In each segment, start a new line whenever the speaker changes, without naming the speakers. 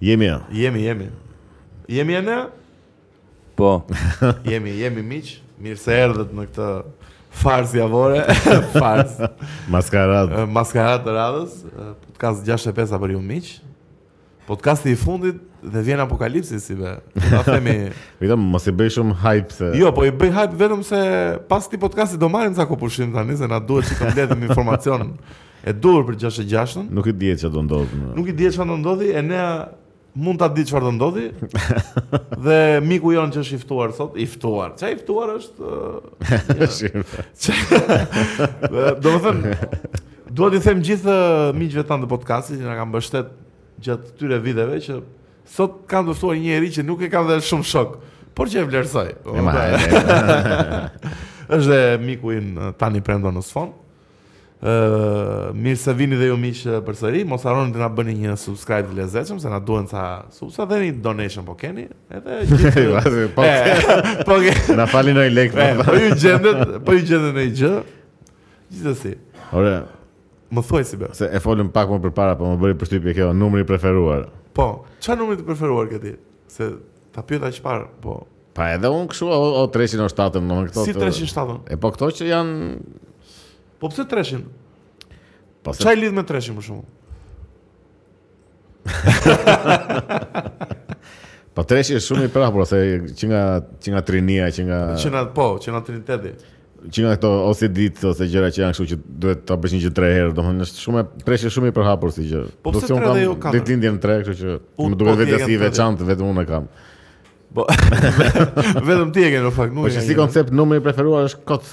Jemi ja.
Jemi, jemi. Jemi e ne?
Po,
Jemi, jemi miq. Mirë se erdhët në këtë farz javore, farz
Maskarad.
eh, maskarat të radhës, eh, podcast 65 për ju miq. Podcasti i fundit dhe vjen apokalipsi si be. Ta themi,
Vetëm mos i bëj shumë hype se.
jo, po i bëj hype vetëm se pas këtij podcasti do marrim ca kopushim tani se na duhet që të mbledhim informacion e dur për 66-ën.
Nuk i dihet çfarë do ndodhë. më.
Nuk i di çfarë do ndodhi, e nea mund ta di çfarë do ndodhi. dhe miku jon që është i ftuar sot, i ftuar. Çfarë i ftuar është? ë, ja. do të them, dua t'i them gjithë ë, miqve tanë të podcastit që na kanë mbështet gjatë këtyre viteve që sot kanë të ftuar një njerëz që nuk e ka dhënë shumë shok, por që e vlerësoj.
E ma, e, e,
Është dhe miku im eh, tani prendo në sfon. Ë mirë se vini dhe ju miq eh, përsëri, mos harroni të na bëni një subscribe të lezetshëm se na duhen ca subsa dhe një donation po keni, edhe gjithë.
Vazhdo, po.
E, po ke.
Na falin oj lek.
E, po ju gjendet, po ju gjendet në një gjë. Gjithsesi,
Ore,
më thuaj si be.
se e folëm pak më përpara, po më bëri përshtypje kjo numri i preferuar.
Po, çfarë numri të preferuar ke ti? Se ta pyeta çfarë, po.
Pa edhe unë këshu o, o 307 në më këto.
Si
të-
307?
E po këto që janë
Po pse 300?
po se
Çfarë lidh me 300 për shkakun?
po treshi është shumë i prapur ose që nga që nga trinia, që nga
Që na po, që na triniteti.
që nga këto ose ditë ose gjëra që janë kështu që duhet ta bësh një gjë tre herë, domethënë është shumë e treshi është shumë i përhapur si gjë.
Po
Do të
pse
thonë
tre dhe jo
kam
katër?
ditëlindjen tre, kështu që
Unë
më
po
duket
ti e
vetë
kam
si
tre.
veçantë, vetëm unë e kam.
Po, vetëm ti e ke në fakt, nuk
Po
e
që
ke.
si koncept numri i preferuar është kot.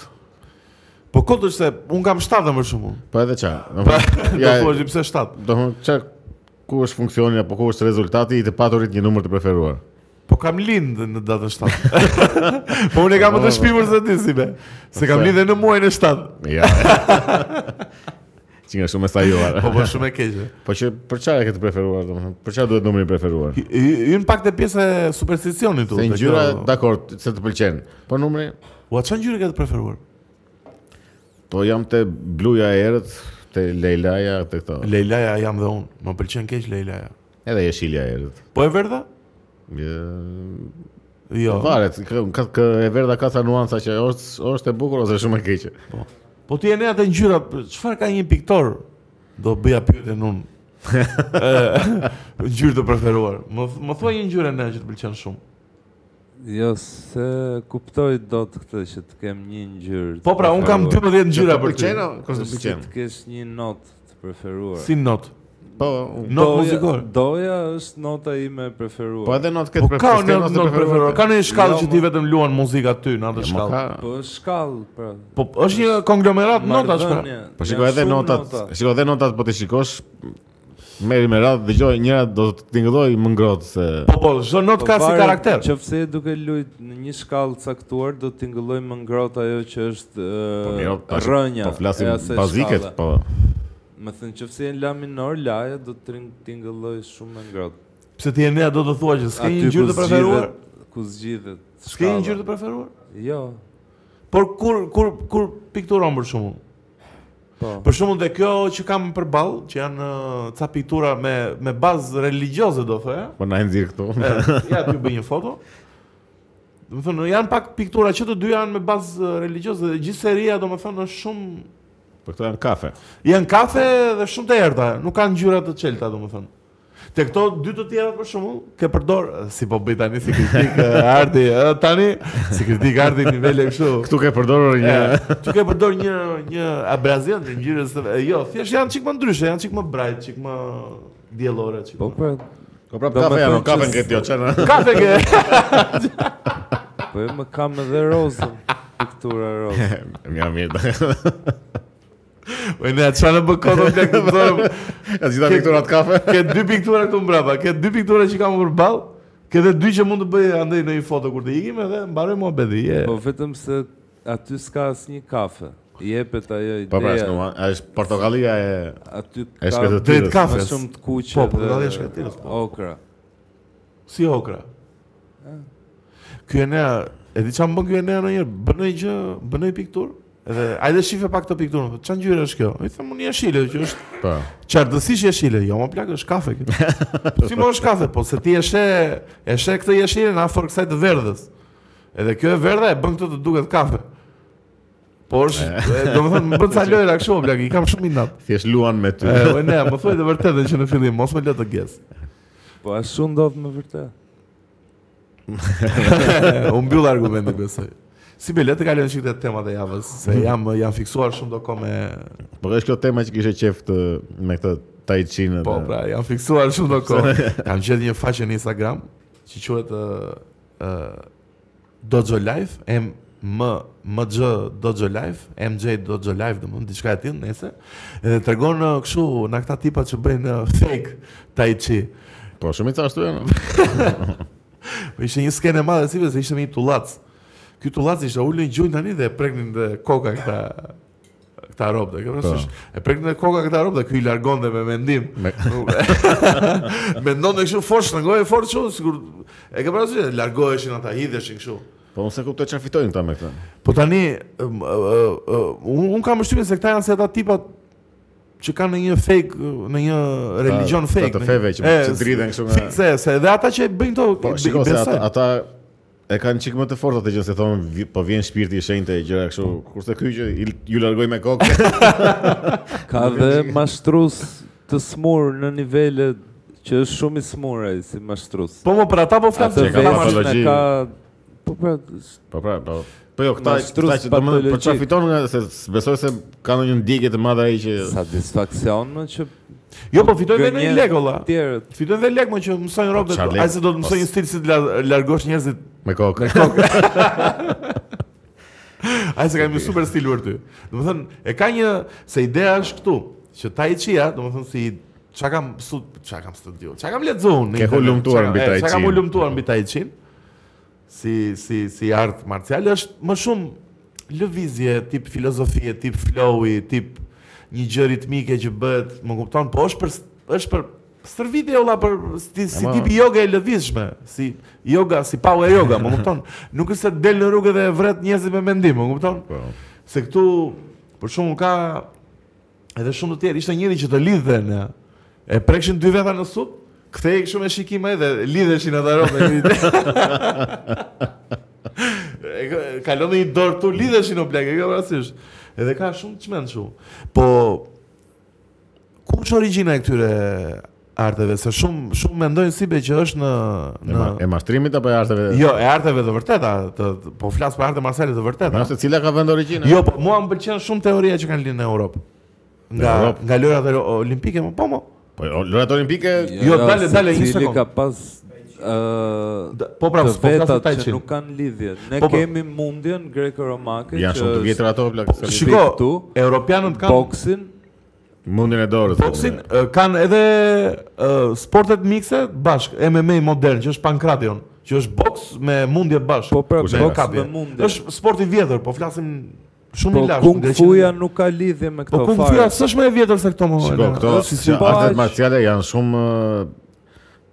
Po kot është se un kam 7 më shumë.
Po edhe çfarë? Domethënë,
Ja,
ja,
Po, do thuash pse 7.
domethënë çfarë ku është funksioni apo ku është rezultati i të paturit një numër të preferuar.
Po kam lind në datën 7. po unë e kam më të shpimur se ti si be. Se kam
Pse?
lindë në muajin e 7.
Ja. Që nga shumë e sajuar.
Po po shumë e keqe.
Po që për çfarë e ke të preferuar domethënë? Për çfarë duhet numri i preferuar?
Y- y- Hyn pak te pjesa e supersticionit tu.
Se
te
ngjyra,
kjo-
dakor, se të pëlqen. Po numri,
Ua çfarë ngjyrë ke të preferuar?
po jam te bluja e erët, te lejlaja, te këto.
Lejlaja jam dhe unë. Më pëlqen keq Lejlaja.
Edhe jeshilja e erët.
Po e verdha?
Je-
Jo.
Varet, kë- ka kë e verdha ka ca nuanca që është është e bukur ose shumë e keqe.
Po ti e ne atë ngjyra, çfarë ka një piktor? Do bëja pyetjen unë. Ë, Ngjyrë të preferuar. Më më thuaj një ngjyrë ne që të pëlqen shumë.
jo se kuptoj dot këtë që të kem një ngjyrë. të
Po pra, un kam
preferuar.
12 ngjyra për ty.
pëlqen, o, kur të
Është
pëlqen.
si Të kesh një notë të preferuar.
Si not.
Po,
Not
Doja-
muzikore.
Doja është nota ime e preferuar.
po edhe not këtë
Po ka
preferuar.
në not preferuar. Ka në një shkallë
Jo,
që ti vetëm luan muzikë aty në atë
Po ka.
shkallë.
Po është shkallë, pra.
Po është një konglomerat notash pra.
Marrëdhënie.
Po
Janë
shikoj edhe
shumë
notat,
nota.
shikoj edhe notat po ti shikosh Meri me radhë dëgjoj njëra do të tingëlloj më ngrohtë se
Po po, çdo not
Po
ka si
varet
karakter.
Qofse e duke lujt në një shkallë caktuar do të ngëlloj më ngrohtë ajo që është
Po
e,
mirë, tash
rënja.
po flasim
e asaj
baziket, po.
shkalle. Më thënë qofse e në la minor laja do të ring- tingëlloj shumë më ngrohtë.
Pse ti e ne do të thuaj që s'ke një
Aty
ngjyrë
ku
të preferuar?
zgjidhet- Ku zgjidhet?
S'ke një
shkalla.
ngjyrë të preferuar?
Jo.
Por kur kur kur pikturon për shkakun?
Po.
Për shembull dhe kjo që kam përball, që janë ë, ca piktura me me bazë religioze do thoya.
Po na e nxirr këtu.
Ja ti bëj një foto. Do të thonë janë pak piktura që të dy janë me bazë ë, religioze dhe gjithë seria do të thonë është shumë
Po këto janë kafe.
Janë kafe dhe shumë të errta, nuk kanë ngjyra të çelta domethënë. Te këto dy të tjera për shembull, ke përdor si po bëj tani si kritik e, arti, e, tani si kritik arti nivele kështu.
Këtu ke përdorur një
E, Ti ke përdor një një abrazient të ngjyrës, të- e, jo, thjesht janë çik më ndryshe, janë çik më bright, çik më diellore, çik.
Po
më-
pra,
Po prap
Do me
kafe janë,
thënë
kafe jo,
që
ngjë ti çana.
Kafe ke.
po e më kam edhe rozën. Piktura rozë.
Mja mirë.
Po ne çfarë bë kodon nga këtu zonë?
Ja gjitha pikturat kafe.
Ke dy piktura këtu mbrapa, ke dy piktura që kam përball. Ke edhe dy që mund të bëj andaj në një foto kur të ikim edhe mbaroj muhabetin. je.
Po vetëm se aty s'ka asnje kafe. Jepet ajo ideja.
Po pra, është normal. Është portokallia e
Aty
e shkretë
ka
drejt
të
kafe.
më
kafes.
shumë të kuqe.
Po, portokallia e shkretirës, po.
Okra.
Si okra. Ky e nea, e di çam bën ky e nea ndonjëherë, bën një gjë, bën një pikturë. Edhe hajde shife pak këtë pikturë. Thotë, Çfarë ngjyrë është kjo? I them unë jeshile që është
Po.
çardësisht jeshile. Jo, më plak është kafe kjo. si më është kafe, po se ti e she, e she këtë jeshile në afër kësaj të verdhës. Edhe kjo e verdha e bën këtë të duket kafe. Po është, domethënë më bën sa lojra kështu më plak, i kam shumë inat.
Thjesht luan me ty.
E, o, ne, më thuaj të vërtetën që në fillim mos më lë të gjes.
Po a shumë ndodh me vërtet.
U mbyll argumenti besoj. Si be, le të kalojmë çikë temat e javës, se jam jam fiksuar shumë doko me
Po është kjo tema që kishe qeft me këtë tai chinë.
po, pra, jam fiksuar shumë doko. Kam gjetur një faqe në Instagram që quhet ë ë Dojo Life, M M M J Dojo Life, MJ Dojo Life, domthonë diçka e tillë nëse. Edhe tregon ë, kështu na këta tipa që bëjnë ë, fake tai chi.
Po shumë i ca ashtu janë.
Po ishte një skenë e madhe si se ishte me një tullac. Ky tullac ishte ulën gjunjë tani dhe e preknin dhe koka këta këta robë. Kjo
Po.
është e preknin dhe koka këta robë dhe ky i largon dhe me mendim.
Me-
Mendon dhe kështu fort shtrëngoi fort kështu sigur e ke parasysh largoheshin ata hidheshin kështu.
Po unë se kuptoj çfarë fitojnë ta me këtë.
Po tani um, uh, uh, uh, un, un kam përshtypjen se këta janë se ata tipat që kanë një fake, uh, në një religion
ta
fake.
të
në-
feve që-
E,
që dridhen kështu nga-
Se, se edhe ata që e bëjnë to,
Po shiko se ata, ata e kanë çik më të fortë atë gjë se thonë vi- po vjen shpirti i shenjtë e gjëra kështu. Kurse ky që i, ju largoj me kokë.
Ka dhe mashtrus të smur në nivele që është shumë i smur ai si mashtrus.
Po më për ata po flas.
Atë
që ka
Ata
pasur-
marrin-
veçin
patologji.
e ka po pra
po pra, po. Po jo, këta,
Mashtrus
këta që do më po çfarë
patologjik.
fiton nga se s- besoj se kanë ndonjë ndjekje të madhe ai që
satisfaksion më që
Jo, po fitojnë edhe një
gënjen
lek olla.
Tjerët.
Fitojnë dhe lek më që mësojnë robët.
çfarë lek?
Ai se do të mësojnë
Po,
një stil si të la- largosh njerëzit.
me kokë.
Ai se ka një super stil për ty. Domethënë, e ka një se ideja është këtu, që Tai Chi-a, domethënë si çka kam stud, çka kam studiu, çka kam lexuar në
Ke
internet,
hulumtuar
çka-
mbi
e,
Tai
Çka kam
Chi-n.
hulumtuar mbi Tai Chi-n? Si si si art marcial është më shumë lëvizje tip filozofie, tip flowi, tip një gjë ritmike që bëhet, më kupton, po është për është për stërvitje olla për si, si
ma-
tip yoga e lëvizshme, si yoga, si power yoga, më kupton? Nuk është se del në rrugë dhe e vret njerëzit me mendim, më kupton?
Po.
Se këtu, për shumë ka edhe shumë të tjerë, ishte njëri që të lidhë në, e prekshin dy veta në sup, kthej kështu me shikime dhe lidheshin ata robë. e ka- kalon në një dorë tu lidheshin o plak, e ka parasysh. Edhe ka shumë të çmend shumë. Po ku është origjina e këtyre arteve? Se shumë shumë mendojnë si be që është në
E, ma, e
në
mashtrimit apo e arteve?
Jo, e arteve të vërteta, të, të, po flas për arte marciale të vërteta.
Nëse cila ka vend origjinën?
Jo, po mua më pëlqen shumë teoria që kanë linë në Europë. Nga
Në Europë?
nga lojrat e olimpike, më po mo.
Po jo, lojrat olimpike
Jo, dale, dale, një
secili
sekond.
ka pas ë
Da- po pra,
të
s'po flas për
vetat
Tai
që
Chi.
nuk kanë lidhje. Ne
Po, po.
kemi mundjen greko-romake
janë shumë të
është
vjetra ato plak. s'ka-
Shiko,
këtu,
europianët kanë
boksin,
Mundin e dorës.
boksin, eh, kanë edhe eh, sportet mikse bashk, MMA modern që është Pankration, që është boks me mundje bashk.
po pra
Kush e ka?
boks
kapje.
me mundje.
Është sport i vjetër, po flasim shumë
Po
i lashtë.
kung
Greqinë-
fuja nuk ka lidhje me
Po
këto
kung fuja
fare.
s'është më e vjetër se këto më.
Shiko,
Elena.
këto
Është
si
si-
po,
artet
aq-
marciale janë shumë ë,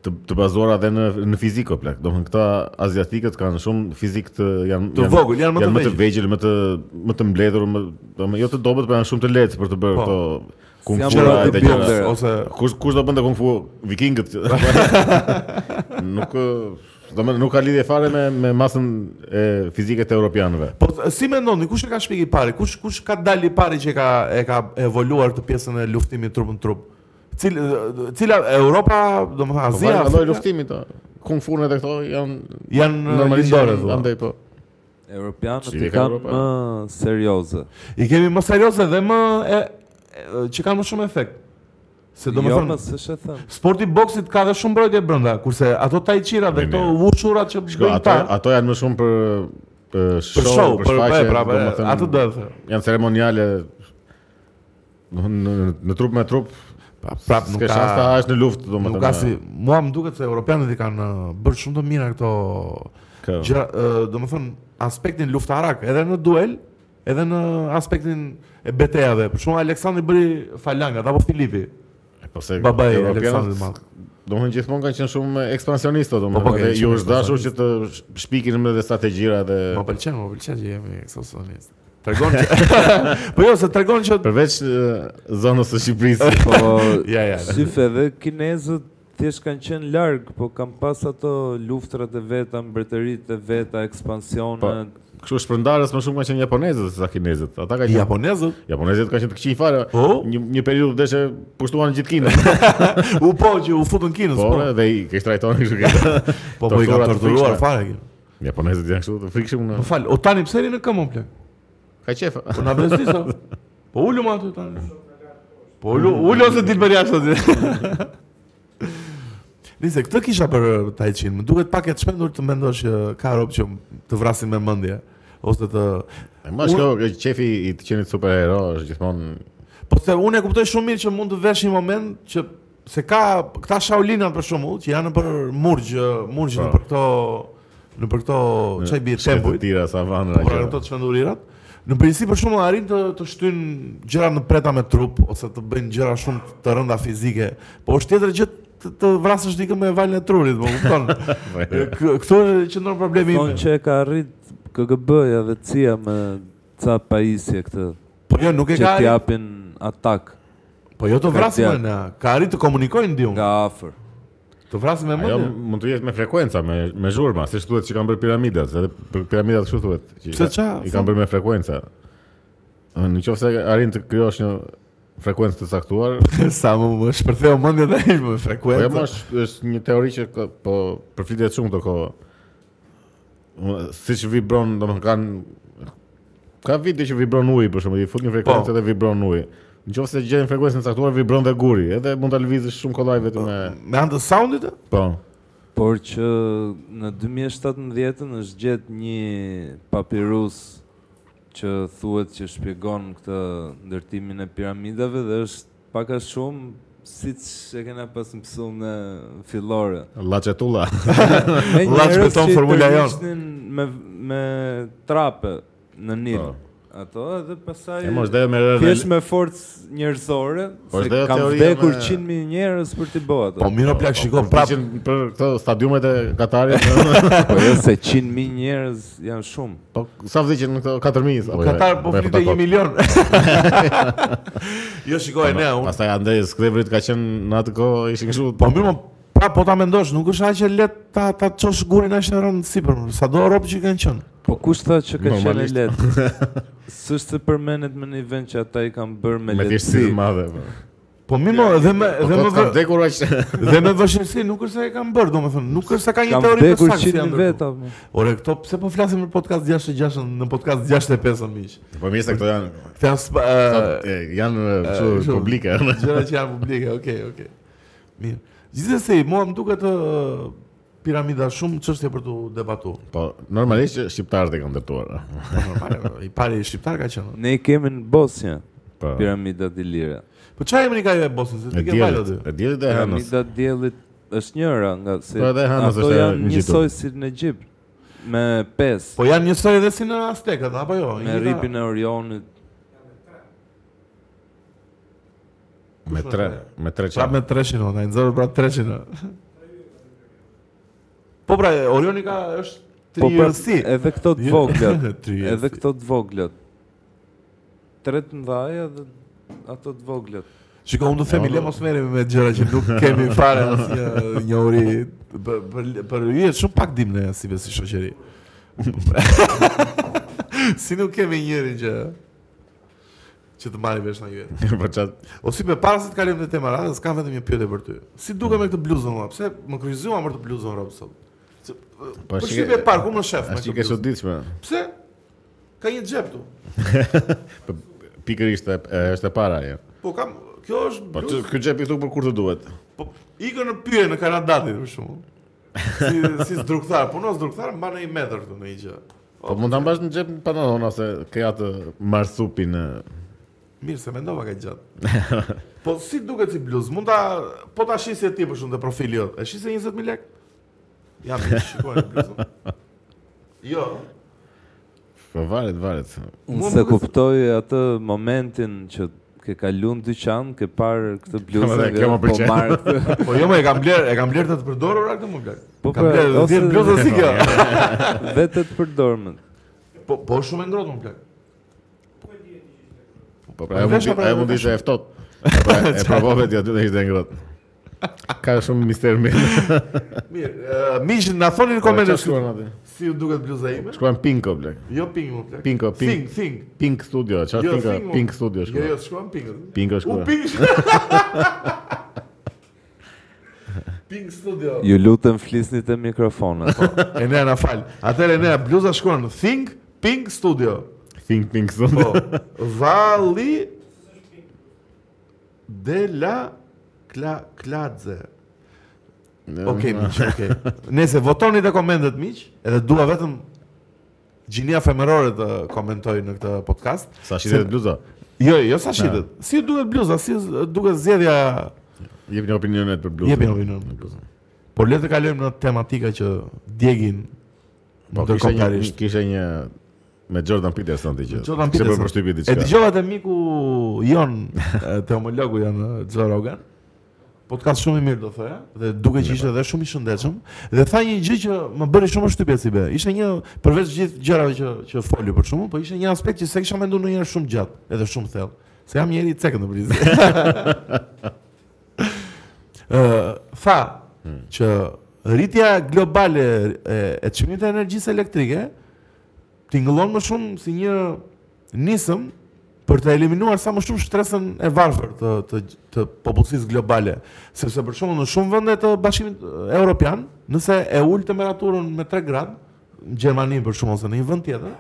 të, të bazuara edhe në në fiziko plak. Domethënë këta aziatikët kanë shumë fizik të janë
Të vogël, janë më të
më të vegjël, më të më të mbledhur, më domethënë jo të dobët, por janë shumë të lehtë për të bërë
Po.
këto kung
janë
fu
bërë
e
të
të gjëra.
builder.
ose
Kush kush do bënte kung fu vikingët? nuk ë, domethënë nuk ka lidhje fare me me masën e fizike të europianëve.
Po t- si mendoni, kush e ka shpik i pari? Kush kush ka dalë i pari që e ka e ka evoluar këtë pjesën e luftimit trup në trup? Cil, cila Europa, domethënë
Po varet
Azia,
nga lloji
Afrika,
luftimi ta. Kung fu edhe këto janë
janë
normalisht
lindore
janë-
thua.
andaj po.
Europianët
Si
i
e ka
kanë
Europa?
më serioze.
I kemi më serioze dhe më e, e, që kanë më shumë efekt. Se
Jo,
domethënë
më s'është e thënë.
sporti i boksit ka dhe shumë mbrojtje brenda, kurse ato tai qira dhe
Mirë,
këto
mirë.
ushurat që
Shko,
bëjnë
ato,
ta
ato janë më shumë për për show,
për show, për
shfaqje,
e, pra, e,
domethënë,
atë do të them.
Janë ceremoniale domethënë, në, në, në trup me trup.
Prap nuk
S'ke shans ta
ka
hash në luftë domethënë.
nuk ka si mua më duket se europianët i kanë uh, bërë shumë të mira këto
Kë?
gjëra, uh, domethënë aspektin luftarak, edhe në duel, edhe në aspektin e betejave. Për shembull Aleksandri bëri falangat apo Filipi,
Po se
babai i
europianët
Aleksandrit Madh.
domethënë gjithmonë kanë qenë shumë ekspansionistë
Po, po,
domethënë.
kanë
Dhe
qenë
ju
Po, shumë
është dashur që të sh- shpikin me dhe strategjira dhe
Më pëlqen, më pëlqen që jemi ekspansionist. Tregon që Po jo, se tregon që
përveç e, zonës së Shqipërisë.
Po
ja ja.
Syfe dhe kinezët thjesht kanë qenë larg, po kanë pas ato luftrat e veta, mbretëritë e
Po.
veta, ekspansionet.
Kështu shpërndarës më shumë kanë qenë japonezët se sa kinezët. Ata kanë qenë
Japonezët
Japonezët kanë qenë të këqij fare.
Po.
Një një periudhë deshe pushtuan gjithë Kinën.
u po që u futën Kinës,
Po,
po.
re, dhe i keq trajtonin kështu që.
Po po i kanë
torturat të
torturuar
frikshme.
fare. kjo.
Japonezët janë kështu të frikshëm. në-
Po fal, o tani pse rini në këmbë më plak?
Ka qef.
Po na vlerësisa. Po ulu më aty tani. Po ulu, ulu ose ditë për jashtë aty. Nise, këtë kisha për uh, Tai Chi-n. Më duket pak e të shpendur të mendosh që ka rob që të vrasin me mendje ose të
E ma shko, qefi i të qenit superhero është gjithmonë
Po se unë e kuptoj shumë mirë që mund të vesh një moment që se ka këta Shaolinat për shembull që janë për murgj, eh, murgj në për këto Po. në për këto çaj Po, bie
shkëtë
tempujt,
tira, savanëra.
por
gjëra.
ato të çmendurirat. Në përgjithësi për shembull arrin të të shtyn gjëra në preta me trup ose të bëjnë gjëra shumë të rënda fizike, po është tjetër gjë të, të vrasësh dikë me valin e trurit, po kupton. Kë- Këtu është që ndon problemi
Thonë
im.
që e ka arrit KGB-ja dhe CIA me ca pajisje këtë,
Po jo, nuk e
që
ka. arrit-
t'japin atak
Po jo të
Ka
vrasin
tjerë.
me na. Ka arrit të komunikojnë ndihmë.
nga afër.
Të vrasin me
Ajo
mendje.
mund të jetë me frekuenca, me me zhurma, siç thuhet që kanë bërë piramidat, edhe për piramidat kështu thuhet. që i
Pse
ka-
qa?
I kanë bërë me frekuenca. Ëh, Në qoftë se arrin të krijosh një frekuencë të caktuar,
Sa më më shpërtheu mendja dhe ai
po
më
jam
frekuencë.
është është një teori që ka- po përflitet shumë këto kohë. Unë- Siç vibron, domethënë kanë ka vite që vibron uji për shembull, i fut një frekuencë
Po.
dhe vibron uji. Në qoftë se gjen frekuencën e caktuar, vibron dhe guri, edhe mund ta lëvizësh shumë kollaj vetëm me
Me anë të soundit? e?
po.
Por që në 2017 është gjetë një papirus që thuhet që shpjegon këtë ndërtimin e piramidave dhe është pak a shumë siç e kena pas mësuar në fillore.
Llaçetulla.
Me
Lla që
njerëz
beton
që i
formula jon.
tërhiqnin me me trape në Nil.
Po.
Ato edhe pasaj
E mos dhe me rënë.
thjesht me forcë njerëzore,
Po është
se
dhe
kam
teoria
vdekur
me-
100.000 njerëz për të bëu ato.
Po mirë o plak, shiko, prap.
Përpiqen për këto stadiumet e Katarit.
Po jo se 100.000 njerëz janë shumë.
po sa vdiqën në këto 4000 apo. jo,
Katar po flitet 1 milion. jo shiko e ne, unë.
Pastaj Andrej Skrevrit ka qenë në atë kohë ishin kështu.
Po mirë, më prap po ta mendosh, nuk është aq e lehtë ta ta çosh gurin aq në rënd sipër. Sado rob që kanë qenë.
Po kush tha që ka qenë e
Normalisht.
lehtë? S'është se përmendet me një vend që ata i kanë bërë me,
me thjeshtësi
lehtësi.
të madhe. po.
Po mirë, mo, dhe me
Po
dhe
kot
me
ka
vë-
vdekur aq.
dhe me vështirësi nuk është se e kanë bërë, domethënë, nuk është se ka një
Kam
teori të
vdekur
saktë. si
100.000
janë ndërtuar.
veta. mo.
Ore, këto pse po flasim për podcast 66 në podcast 65 miq.
Po mirë se këto janë
Këta janë sp- ë,
e, janë e,
kështu.
kështu publike.
Gjëra që janë publike, okay, okay. Mirë. Gjithsesi, mua më duket ë, piramida shumë çështje për tu debatuar.
Po normalisht që shqiptarët e kanë ndërtuar.
Po normal, i pari shqiptar ka qenë.
Ne i kemi në Bosnjë
Po.
piramidat e lira.
Po çfarë emri ka ajo e Bosnës? Se
E
ti ke vajt
diellit,
aty.
e diellit e Hanës.
Piramidat diellit është njëra nga se
Po, edhe Hanës
ato
është e
janë
ngjitur.
njësoj si në Egjipt me pesë,
Po janë njësoj edhe si në Aztekët apo jo?
me ripin e Orionit.
Me tre, me tre
Prap
çfarë?
Pra me treshin ata, i nxorë prap pra treshin. o. Po pra, Orioni ka është
Po pra,
trijërsi.
edhe këto të voglat,
Trijërsi.
edhe këto të voglat. Tre të mëdha dhe ato të voglat.
Shiko, unë do të themi, le mos merremi me gjëra që nuk kemi fare asnjë njohuri për për për ju është shumë pak dim ne si si shoqëri. si nuk kemi njëri që që të marrë vesh nga ju.
Po çat.
O si për para se të kalojmë te tema radhës, kam vetëm një pyetje për ty. Si duke me këtë bluzën valla? Pse më kryqëzuam për të bluzën rob sot? Se- Për
shike-
shtypje e parë, ku më shef
Po,
me
Ashtu
këtë
ke
bluzë?
çuditshme.
Pse? Ka një xhep tu.
Po, Pikërisht e- e- është e para ajo.
Po kam, kjo është
Po
bluzë
që- ky xhepi këtu për kur të duhet.
Po ikën në pyje në Kanadatit për shkakun. Si si zdruktar, punon zdruktar mban në 1 metër këtu në një gjë.
Po mund ta mbash në xhep në pantalon ose ke atë marsupin e,
Mirë se mendova ka gjatë. Po si duket si bluzë? Mund ta po ta shisje ti për shkakun te profili jot. E shisje 20000 lek? Ja, më shikoj bluzën. Jo.
po varet varet.
Unë
Mua
se
më duket se-
kuptoj atë momentin që ke kalu në dyqan, ke parë këtë bluzë,
dhe,
ke
kjo më
po
pëlqen.
marr këtë.
Po jo, më e kam bler, e kam bler të të përdorur këtë më blaq.
Po,
Kam
pra,
bler
ose-
10 bluza si kjo.
Vetë të përdormën.
Po po shumë e ngrohtë më blaq.
Po pra, ajo
Vesh,
mundi-
pra,
ajo mund të ishte e ftohtë. Pra, e provove ti aty dhe ishte e ngrohtë. Ka shumë mister me.
Mirë, ë, miq na thoni në komente
Çfarë shkruan aty?
si ju duket bluza ime.
Shkruan Pinko blek.
Jo ping më blaq.
Pinko, ping.
Think, think.
Pink Studio, çfarë
Jo,
Pinko?
Think, mo.
Pink Studio
Jo, jo,
shkruan.
shkruan ping.
Pinko
U
shkruan.
ping. Pink Studio.
Ju lutem flisni te mikrofonet.
Enea na fal. Atëherë Enea bluza shkruan Think Pink Studio.
Think Pink Studio.
Po. Valli de la Kla Kladze. Po, Okej, miq, okej. Nëse votoni dhe komentet miq, edhe dua vetëm gjinia femërore të komentoj në këtë podcast.
Sa shitet bluza?
Jo, jo sa shitet. Si ju duket bluza, si ju duket zgjedhja
Jepni opinionet për bluzën.
Jepni opinion për bluzën. Por Po, le të kalojmë në tematika që djegin
Po kishte
po,
një
ndërkombëtarisht.
kishte një me Jordan Peterson po ti që.
Jordan
Kishte
Peterson.
për përshtypje
E
diçka.
dëgjova te miku jon, e, te homologu jon e, Joe Rogan. Podcast shumë i mirë do thoya dhe duke që ishte edhe shumë i shëndetshëm dhe tha një gjë që më bëri shumë shtypje si be. Ishte një përveç gjithë gjërave që që foli për shkakun, po ishte një aspekt që s'e kisha menduar ndonjëherë shumë gjatë, edhe shumë thellë. Se jam njëri i cekët në prizë. Ë, tha që rritja globale e, e çmimit të energjisë elektrike tingëllon më shumë si një nisëm për të eliminuar sa më shumë shtresën e varfër të të të popullsisë globale, sepse për shembull në shumë vende të Bashkimit Evropian, nëse e ul temperaturën me 3 gradë, në Gjermani për shembull ose në një vend tjetër,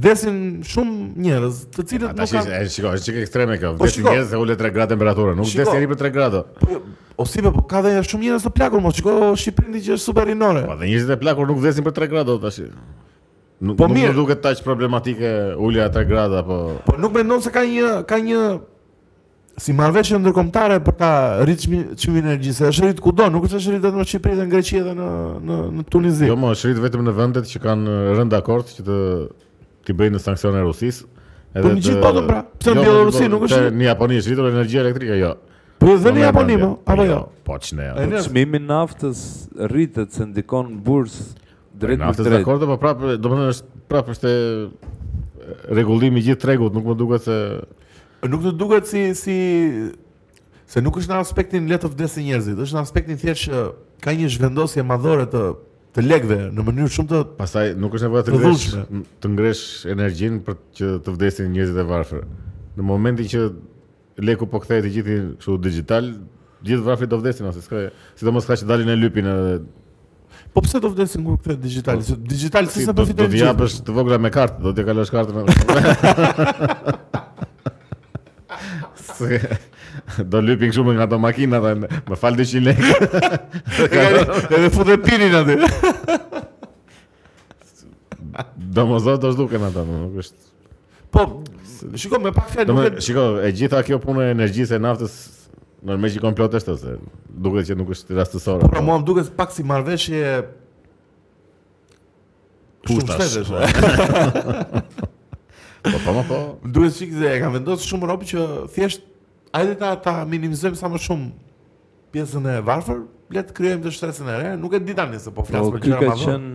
vdesin shumë njerëz, të cilët
Ata
nuk kanë
shikoj, shikoj, është çik ekstreme kjo.
Po,
Vdes
shiko.
njerëz se ule 3 gradë temperaturë, nuk vdes
Shiko.
njeri për 3 gradë.
Po, O si be, po ka dhe shumë njerëz të plakur, mos shiko Shqipërinë që është super rinore.
Po dhe njerëzit e plakur nuk vdesin për 3 gradë o, tash. Nuk
Po,
nuk
mirë.
më duket tash problematike ulja 3 gradë apo
Po nuk mendon se ka një ka një si marrëveshje ndërkombëtare për ta rritë çmi- çmimin e energjisë. Është rrit kudo, nuk është rrit vetëm në Shqipëri dhe në Greqi dhe në në në Tunizi.
Jo, më është rrit vetëm në vendet që kanë rënë dakord që të ti bëjnë sanksionë Rusisë.
Po në gjithë botën, pra. Pse në
Jo,
Bielorusi
gjithë
nuk
botën.
është-
Te- Në Japoni është rritur energjia elektrike, jo.
po dhe në
me
Japoni,
mendje.
mo, apo jo?
Po ç'ne.
E,
po.
njerëz.
Çmimi i naftës rritet se ndikon në bursë drejt
Në
për
aftës
drejt.
dakord, po prapë, domethënë është prapë është e rregullimi i gjithë tregut, nuk më duket se jo.
Nuk të duket si si se nuk është në aspektin le të vdesin njerëzit, është në aspektin thjesht që ka një zhvendosje madhore të të legëve në mënyrë shumë të
pastaj nuk është nevojë të
Të
ngresh
dhullshme.
të ngresh energjinë për që të vdesin njerëzit e varfër. Në momentin që leku po kthehet i gjithë kështu digital, gjithë varfrit do vdesin ose s'ka, sidomos ka që dalin e lypin edhe
Po pse do vdesin kur kthehet digital? Se Digital si
Si,
se
do do
përfitojnë
t'i
gjithë?
japësh të vogla me kartë, do t'i kalosh kartën. Se, do lypin kështu me nga ato makina dhe më fal 200 lekë.
Edhe futet pinin aty.
Domosdoshmë do zhduken ata, më, nuk është.
Po, shiko me pak fjalë nuk
Domethënë,
e
shiko, e gjitha kjo punë e energjisë e naftës normal që komplet është ose duket që nuk është rastësore.
po pra mua më duket pak si marrëveshje shumë
Pushtash.
shtetesh.
Po po po.
Më duket shik se e ka vendosur shumë rob që thjesht hajde ta ta minimizojmë sa më shumë pjesën e varfër, le të krijojmë të shtresën e re, nuk e di tani se po flas
Po
për
ky
gjëra
ka
më vonë.
qenë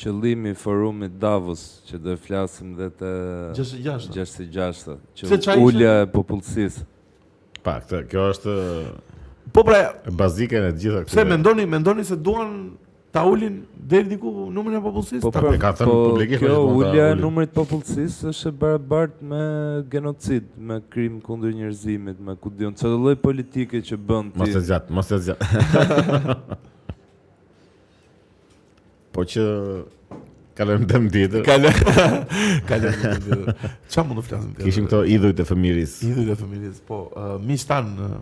qëllimi i forumit Davos që do të flasim dhe të
66.
66
Se
që
qa ishte?
ulja e popullsisë.
Pa, këtë, kjo është
Po pra,
e bazike e të gjitha
pse
këtyre.
mendoni, mendoni se duan ta ulin deri diku numrin e popullsisë?
Po
Ta-
pra,
e ka thënë publikisht
kjo
që mund ta
ulja e
ulin.
numrit të popullsisë është e barabartë me genocid, me krim kundër njerëzimit, me ku diun çdo lloj politike që bën
Mos e
ti.
zgjat, mos e zgjat. po që kalojmë dëm tjetër.
Kalë. Kalë. Çfarë mund të flasim tjetër?
Kishim këto idhujt e fëmiris.
Idhujt e familjes, po, uh, miq tan uh,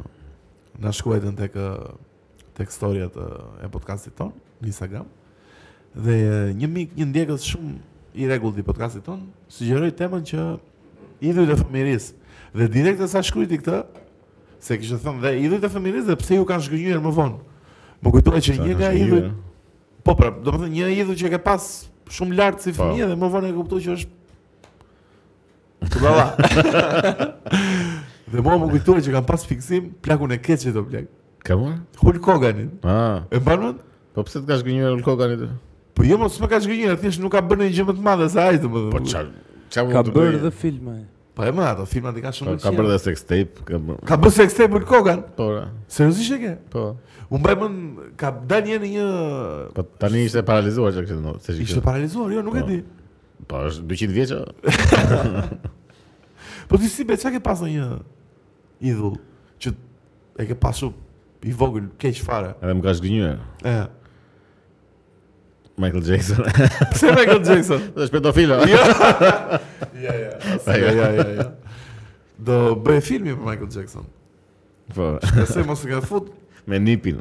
na shkruajtën tek uh, tek storiat uh, e podcastit ton në Instagram. Dhe uh, një mik, një ndjekës shumë i rregullt i podcastit ton, sugjeroi temën që idhujt e familjesë. Dhe direkt e sa shkrujti këtë, se kishte thënë dhe idhujt e familjesë dhe pse ju kanë zhgënjur më vonë. Më kujtohet që një nga idhujt, po pra, domethënë një idhull që ke pas shumë lart si
Po.
fëmijë dhe më vonë e kuptoj që është Kullava. Dhe mua më kujtohet që kam pas fiksim plakun e keqe të plak.
Ka marrë?
Hulk Hoganin.
Ah,
E mban mend?
po pse të ka shkënjur Hulk Hogan atë?
Po jo, mos më ka shkënjur, thjesht nuk ka bërë një gjë më të madhe se ai domethënë.
Po ç'a ç'a mund
Ka
të
bërë
bëjë?
dhe filma. e.
Po e mërë ato filmat i ka
Po,
shumë të
Ka bërë
qenë.
dhe sex tape, ka bërë.
Ka bërë sex tape Hulk Hogan.
Po, ra,
Seriozisht e ke?
po.
Unë mbaj mend ka dalë një herë në një
Po tani ishte paralizuar çka kishte ndodhur. se që
ishte
kishte-
paralizuar, jo, nuk e
Po.
di.
Po është 200 vjeç. a?
Po ti si be çka ke pas në një idhull që e ke pasu i vogël keq fare.
Edhe më ka shkënjur
E.
Michael Jackson.
Pse Michael Jackson?
Është pedofil. a?
Jo. Ja, ja. Ja, ja, ja, ja. Do bëj filmi për Michael Jackson.
Po,
Shpresoj mos e kanë fut.
me nipin.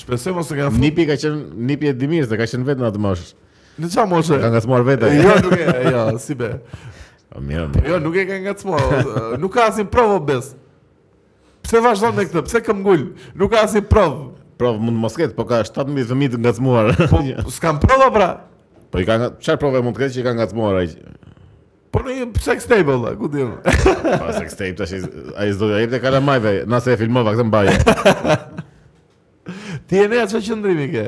Shpresoj mos e kanë fut.
Nipi ka qenë nipi i Dimirës, se ka qenë vetëm atë moshë.
Në çfarë moshe?
Ka ngacmuar vetë. ai.
Po. Jo, nuk e, jo, si be.
Po, Mirë, mirë.
Jo, nuk e kanë ngacmuar. o, Nuk ka asnjë provë o bes. Pse vazhdon me këtë? Pse këmbgul? Nuk ka asnjë provë.
Provë mund të mos ketë, po ka 7000 fëmijë të ngacmuar. Jo.
Po s'kam prova pra.
Po i ka nga- çfarë provë mund të ketë që i ka ngacmuar ai?
Po në një sex table, la, ku di unë.
Pa sex tape tash ai s'do ai te kalamajve, na se e filmova këtë mbaje.
Ti e nea çfarë qëndrimi ke?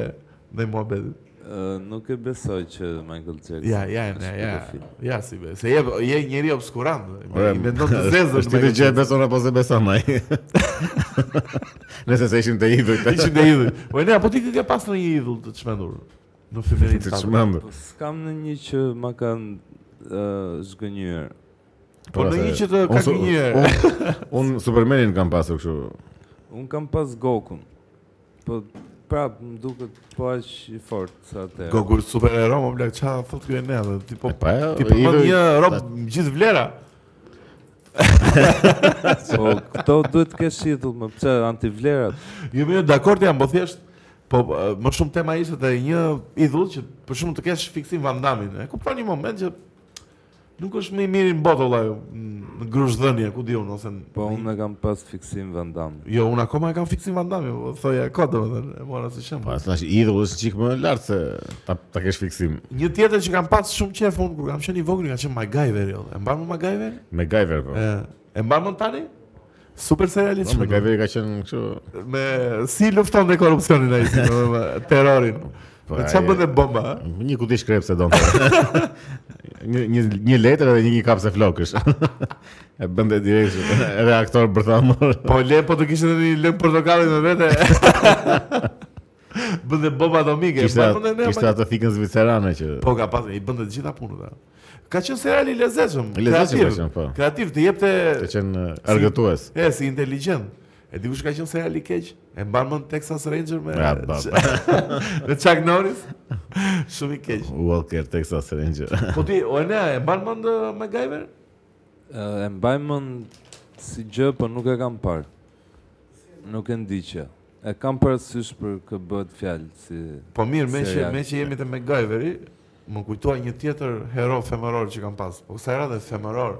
Ndaj muhabetit.
Ë, Nuk e besoj që Michael Jackson.
Ja, ja,
është
ja, ja.
pedofil.
Ja, si be. Se je je njëri obskurant.
Ore,
I vendon të zezë.
Po, Është ti të gjej beson apo se beson ai. Nëse se ishin të idhur këta.
Ishin në idhull. Po ne apo ti ke ke pas në një idhull të çmendur. Në feminin
Të
tatë.
çmendur.
Po s'kam në një që ma kanë ë, zgënjur.
Po në një që të ka një
Un Supermanin kam pasur kështu.
Unë kam pas Gokun. Po prap më duket po aq i fortë sa atë.
Gogur superhero më blaq ça thot ky ne atë ti po
E, pa, jo,
ti po
idhull-
një rob gjithë vlera.
Po këto duhet të kesh idhull, më pse antivlerat?
Jo më dakord jam, po thjesht po eh, më shumë tema ishte te një idhull që për shumë të kesh fiksim Van Damin. E kupton një moment që nuk është më i miri në botë vëllai në grushdhënie, ku diun ose në-
Po unë e kam pas fiksim Van Damme.
Jo, unë akoma e kam fiksim Van Damin, po thoja kot domethënë, e mora si shemb.
Po tash idhull është çik më lart se ta ta kesh fiksim.
Një tjetër që kam pas shumë qef unë kur kam qenë i vogël, ka qenë MacGyver jo. E mban më MacGyver?
Me Gajver po.
E, e mban më tani? Super serialist.
Po, Me Gajver ka qenë kështu.
Me si lufton dhe korrupsionin ai, si, domethënë, terrorin.
Po,
Me çfarë
ai-
bën dhe bomba? a?
Një kuti shkrep se donte. një një një letër edhe një kapse flokësh. e bënte direkt kështu. edhe aktor bërthamor.
Po le po të kishte edhe një lëng portokalli me vete. bën dhe bomba atomike.
Kishte
mban mend e ne,
kishte atë fikën zvicerane që
Po ka pas, i bën të gjitha punët. a. Ka qenë serial i lezetshëm,
I lezetshëm ka
kreativ.
qenë, po.
Kreativ të jepte
të qenë e, argëtues.
E, si inteligjent. E di kush ka qenë serial i keq? E mban mend Texas Ranger me
Ja, ba, ba.
me Chuck Norris. Shumë i keq.
Walker Texas Ranger.
Po ti, o ne, e mban mend uh, MacGyver?
Ë, E mbaj mend si gjë, po nuk e kam parë. Nuk e ndiqja. E kam parasysh për kë bëhet fjalë si
Po mirë, me që
Serial.
me që jemi te MacGyveri, më kujtua një tjetër hero femëror që kam pas. Po sa era dhe femëror.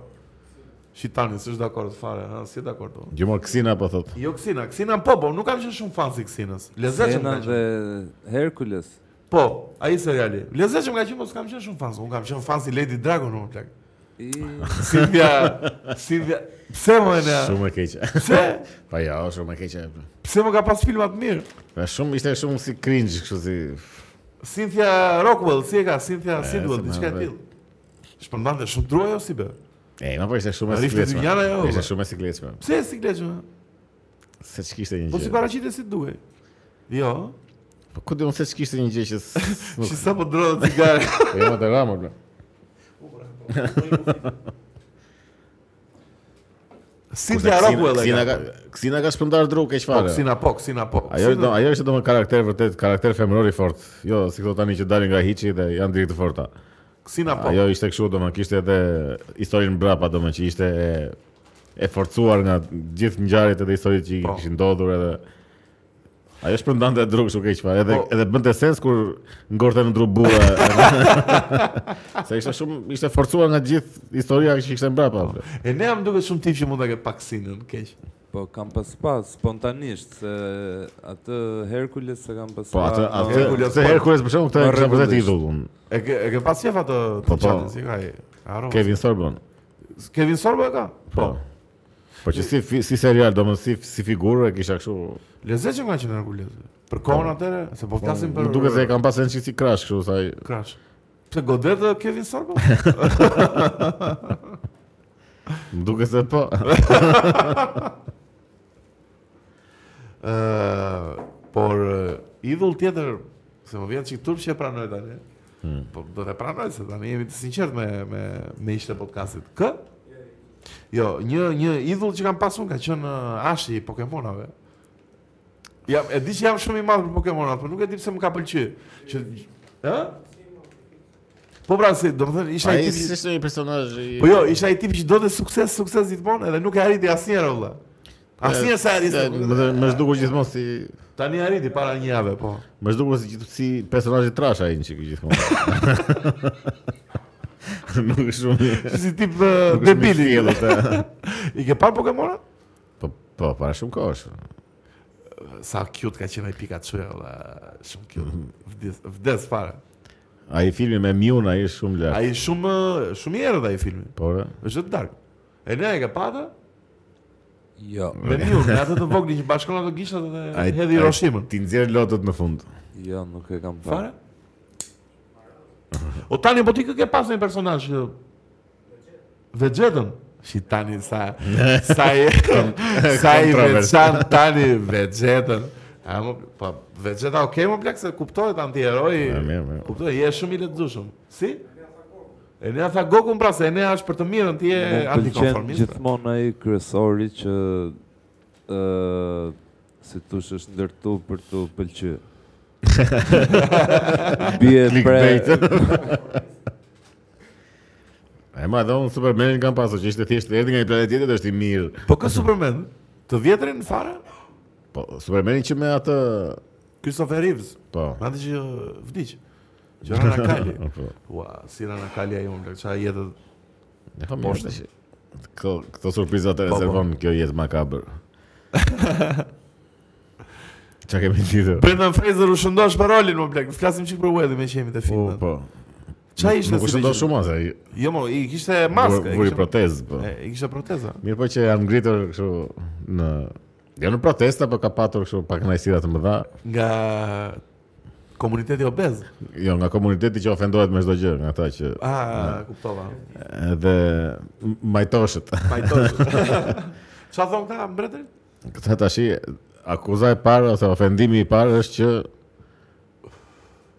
Shitani, s'është dakord fare, ha, si dakord unë.
Gjumor Ksina po thot.
Jo Ksina, Ksina po, po, nuk kam qenë shumë fan si Ksinës. Lezetshëm
Sena
ka qenë.
dhe Hercules.
Po, ai seriali. Lezetshëm ka qenë, po s'kam qenë shumë fan. Unë kam qenë fan si Lady Dragon, unë plak.
I
Silvia, Silvia, pse më Po, e ne?
Shumë e keqe.
Pse?
Po ja, shumë e keqe.
Pse më ka pas filma të mirë?
Po shumë ishte shumë si cringe kështu si
Cynthia Rockwell, si e ka Cynthia Sidwell,
se
diçka e
merr
tillë. Shpërndante shumë drua jo si be.
E, ma po ishte shumë e
Rifte
sikletshme.
dynjana, jo,
Ishte
ba.
shumë e sikletshme.
Pse e si kleqëm?
Se ç'kishte një
Po si
gjë.
paraqite si duhej. Jo.
Po ku do se ç'kishte një gjë që s- nuk
Si sa po drodha cigare.
e jam të ramur. bla.
Cynthia
Kurse
Rockwell e
Ksina
ka.
ka Ksina ka shpërndar dru keq
Po,
fare.
Ksina po, Ksina po.
Ajo është do, ajo është domun karakter vërtet, karakter femëror i fortë. Jo, si këto tani që dalin nga hiçi dhe janë direkt të forta.
Ksina po.
Ajo ishte kështu domun, kishte edhe historinë mbrapa domun që ishte e, e forcuar nga gjithë ngjarjet edhe historitë që i
Po.
kishin ndodhur edhe Ajo shpërndante dru kështu keq fare, edhe
Po.
edhe bënte sens kur ngorte në dru burra. Se ishte shumë ishte forcuar nga gjithë historia që ishte mbrapa. bre.
E ne më duket shumë tip që mund ta ke pak Ksinën, keq.
po kam pas pas spontanisht se atë Hercules se kam pas
Po atë
pa-
atë
Herkules,
se
po.
Herkules për shkakun këtë kisha
Ma
vërtet
rregullisht.
idhullun.
E ke e ke pas qef atë
Po, po.
çfarë si ka ai. Harrova.
Kevin Sorbo.
Kevin Sorbo e ka? Po.
Po që si fi- si serial, domethënë si si figurë e kisha kështu.
Lezetshëm ka qenë Herkulesi. Për kohën atëre, se po flasim për
Më duket se e kanë pasur një çik si crash kështu sa i-
Crash. Pse godet dhe Kevin Sorbo?
më duket se po.
Ë, por ë, idhull tjetër se më vjen çik turp që e pranoj tani. Po do të pranoj se tani jemi të sinqert me me me ishte podcastit. Kë? Jo, një një idhull që kam pasur ka qenë ë, Ashi i Pokemonave. Jam e di që jam shumë i madh për Pokemonat, por nuk e di pse më ka pëlqyer. Që ë? Po pra se, domethënë isha
Ai
i tipi
është një personazh i
Po jo, isha i tipi që do të sukses, sukses gjithmonë edhe nuk e arriti asnjëherë valla. Asnjëherë Ah,
Se,
sa
Më
arriti.
dhe- më zhdukur gjithmonë si
Tani arriti para një jave, po.
më zhdukur si gjithë- si personazhi trash ai një çik gjithmonë. Nuk është shumë.
Si si tip
nuk
ë,
është shumë i
debili.
thjellët, e.
I ke parë Pokemonat?
Po po, para shumë kohësh.
Sa cute ka qenë ai Pikachu, e, valla, shumë cute. Vdes, vdes fare.
Ai filmi me Miun ai është shumë lart.
Ai shumë ë, shumë i errët ai filmi.
Por eh,
Është të dark. E ne e ke patë?
Jo,
Me një, me atë të vogli që bashkon ato gishtat dhe
ai-
hedhi
ai-
Hiroshimën.
ti nxjerr lotët në fund.
jo, nuk e kam parë.
Fare? O tani po ti kë ke pas një personazh që Vegetën. Si tani sa sa i sa i
kontrovers.
veçan tani Vegetën. A më po Vegeta okay më plak se kuptohet anti-heroi.
Ja, mirë, mirë.
Kuptohet, je shumë i lexueshëm. Si? Enea tha Goku pra se Enea është për të mirën, ti je
Më pëlqen
antikonformist. pra.
gjithmonë ai kryesori që ë si thosh është ndërtu për të pëlqyer. Bie pre
Clickbait. E ma dhe unë Supermanin kam pasur që ishte thjesht erdi nga një planet tjetër është i mirë.
Po kë Superman? Të vjetrin fare?
Po, Supermanin që me atë...
Christopher Reeves.
Po.
Madje që vdiq. Gjëra na kali.
Po.
Ua, si Rana Kalia e unë, qa jetë...
E fa mirë është që... Këto, këto surprizat e
Po, po.
rezervon kjo jetë makabër. Qa kemi tjetër?
Brendan Fraser u shëndosh për rolin, më blek, flasim qik për wedi me që jemi të
Po,
filmet.
po.
Qa ishte
Nuk
si
është ndo
vision?
shumë asë,
Jo, mo, i kishte maskë,
vuri
i
vuri
kishte,
protezë, po.
e, i kishte proteza.
Mirë po që janë ngritur kështu në... Jo në protesta, po ka patur kështu pak kënaqësira të mëdha.
Nga komuniteti obez.
Jo, nga komuniteti që ofendohet me çdo gjë, nga ata që
Ah, kuptova.
edhe m- majtoshët.
Pajtosh. Qa thonë këta, mbretëri?
Këta tash akuza e parë ose ofendimi i parë është që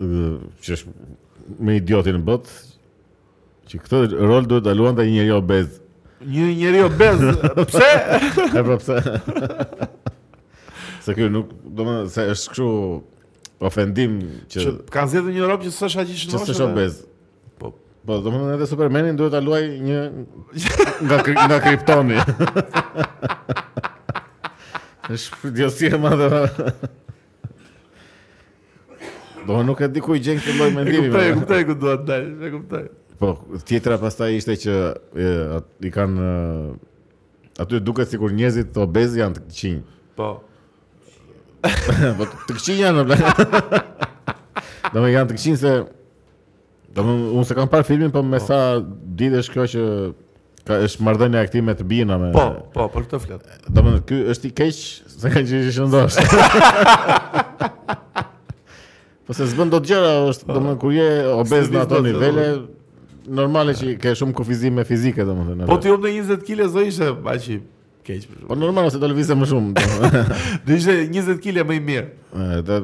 ë, që është me idiotin në botë që këtë rol duhet ta luante një njeriu obez.
Një njeri obez, pse?
E po pse? se ky nuk, domethënë se është kështu ofendim që
Që kanë zedhë një rob që s'është aq i
që
shëndosh.
s'është obez.
Po.
Po, domethënë edhe Supermanin duhet ta luaj një nga kri- nga kriptoni. Është idiosi e madhe. Do nuk e di ku i gjen këtë lloj
E
mendimi.
kuptoj, e
me-
kuptoj ku duhet dalë, e kuptoj.
Po, tjetra pastaj ishte që e, at- i kanë e, aty duket sikur njerëzit obez janë të këqinj.
Po.
po të këqinj janë. Domethënë janë të këqinj se domethënë unë se kam parë filmin, po me sa ditësh kjo që ka është marrëdhënia e këtij me të bina me
Po, po, për këtë flet.
Do më ky është i keq se ka që i shëndosh. po se zbën do të gjëra, është do më kur je obez
S'të
në ato
disbat,
nivele, normale që ke shumë kufizime fizike do më thënë.
Po ti umë 20 kile zë ishte aq i keq. për
Po
shkak.
normal se do lëvizë më shumë. do më-
Do ishte 20 kile më i mirë.
E, dhe-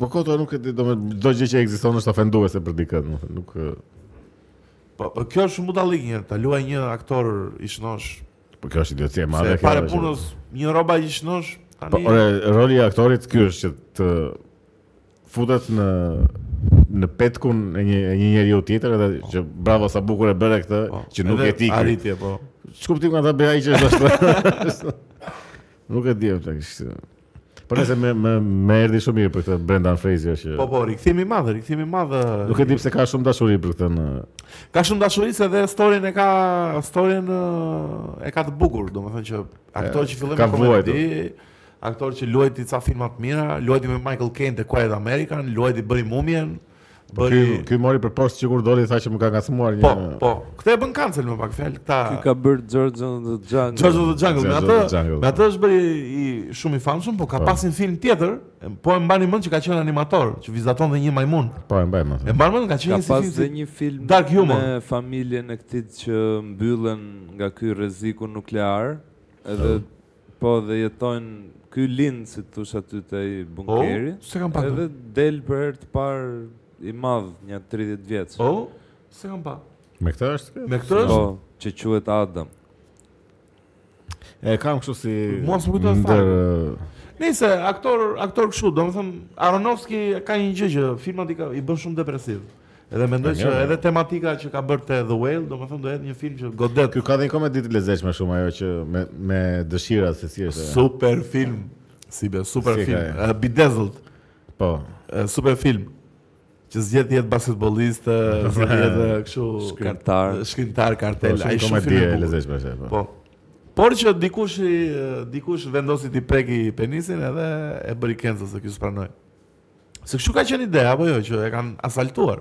Po koto nuk e di, do më çdo gjë që ekziston është ofenduese për dikë, do më thënë, nuk e,
Po po, kjo është shumë budallik një, ta luaj një aktor i shnosh.
po kjo është idioci e madhe.
Se
kjo
pare
është-
punës një roba i shnosh.
Po
Tani
ore, roli i aktorit ky është që të futet në në petkun e një e një njeriu tjetër edhe që bravo sa bukur e bëre këtë
po,
që nuk
edhe
e ti.
Arritje po.
Ç'kuptim nga ta bëj ai që është ashtu. nuk e di atë kështu. Po nëse më më më erdhi shumë mirë për këtë Brendan Fraser që
Po po, rikthimi i madh, rikthimi i madh.
nuk e di pse ka shumë dashuri për këtë në
Ka shumë dashuri se dhe storyn e ka storyn ë, e ka të bukur, domethënë që aktor që filloi
ka
me komedi, aktor që luajti ca filma të mira, luajti me Michael Caine te Quiet American, luajti bëri Mumien,
Po ky ky mori për poshtë që kur doli tha që më ka ngacmuar një.
Po, po. Këtë e bën cancel më pak fjalë, këta
Ky ka bërë Giorgio the Jungle.
George of the Jungle, me
George of the
atë,
Jungle.
me atë është bëri i shumë i famshëm, po ka
Po.
pasin film tjetër, po e mbani mend që ka qenë animator, që vizaton dhe një majmun.
Po, e mbaj më.
E mbani mend ka
Ka
qenë si
pas
film
dhe
si-
një film
Dark Humor.
me familjen e këtit që mbyllen nga ky rreziku nuklear, edhe
Oh.
po dhe jetojnë ky lind si thosh aty te i
Oh,
bunkeri.
se kam pak.
Edhe del për herë të parë i madh, një 30 vjeç.
Oh, se kam pa.
Me këtë është kjo?
Me këtë është
Po, që quhet Adam.
E kam kështu si
Mua s'më kujtohet
ndër
Nëse aktor aktor kështu, domethënë Aronofsky ka një gjë që filmat i, ka, i bën shumë depresiv. Edhe mendoj
E
që
mirë, po.
edhe tematika që ka bërë te The Whale, domethënë do jetë një film që godet.
Ky ka dhe një komedi të lezetshme shumë ajo që me me dëshira se si është.
Super film. Si be, super
Si ka
film.
e?
Uh, Bedazzled,
Po.
uh, super film. Që zgjedh të jetë basketbolist, uh, zgjedh të jetë uh, kështu
Shkrimtar.
kart- shkrimtar
Po,
kartel.
shumë
Ai shumë
komedi
film
e
i bukur.
lezetshme është. Po.
Po. Por që dikush i, uh, dikush vendosi ti preki penisin edhe e bëri cancel se ky s'pranoi. Se kështu ka qenë ide apo jo që e kanë asaltuar.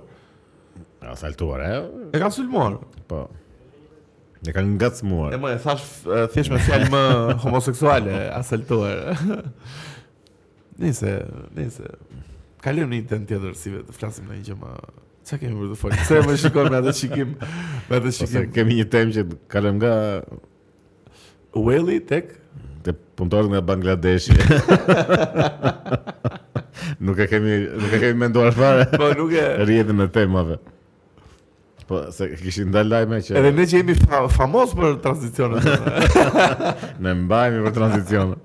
A saltuar ajo?
E kanë sulmuar.
Po. Ne kanë ngacmuar.
E më e thash e, thjesht me fjalë më homoseksuale, asaltuar. Nice, nice. Kalojmë në një temë tjetër si vetë, flasim në një gjë më Çka kemi për të folur? Se më shikoj me atë shikim, me atë
Ose
shikim.
kemi një temë që kalëm nga
Whaley tek
të punëtorët nga Bangladeshi. nuk e kemi nuk e kemi menduar fare
Po nuk e
rrjetën e temave. Po se kishin dalë lajme që
Edhe ne që jemi fa famos për tranzicionet.
ne mbajmë për tranzicion.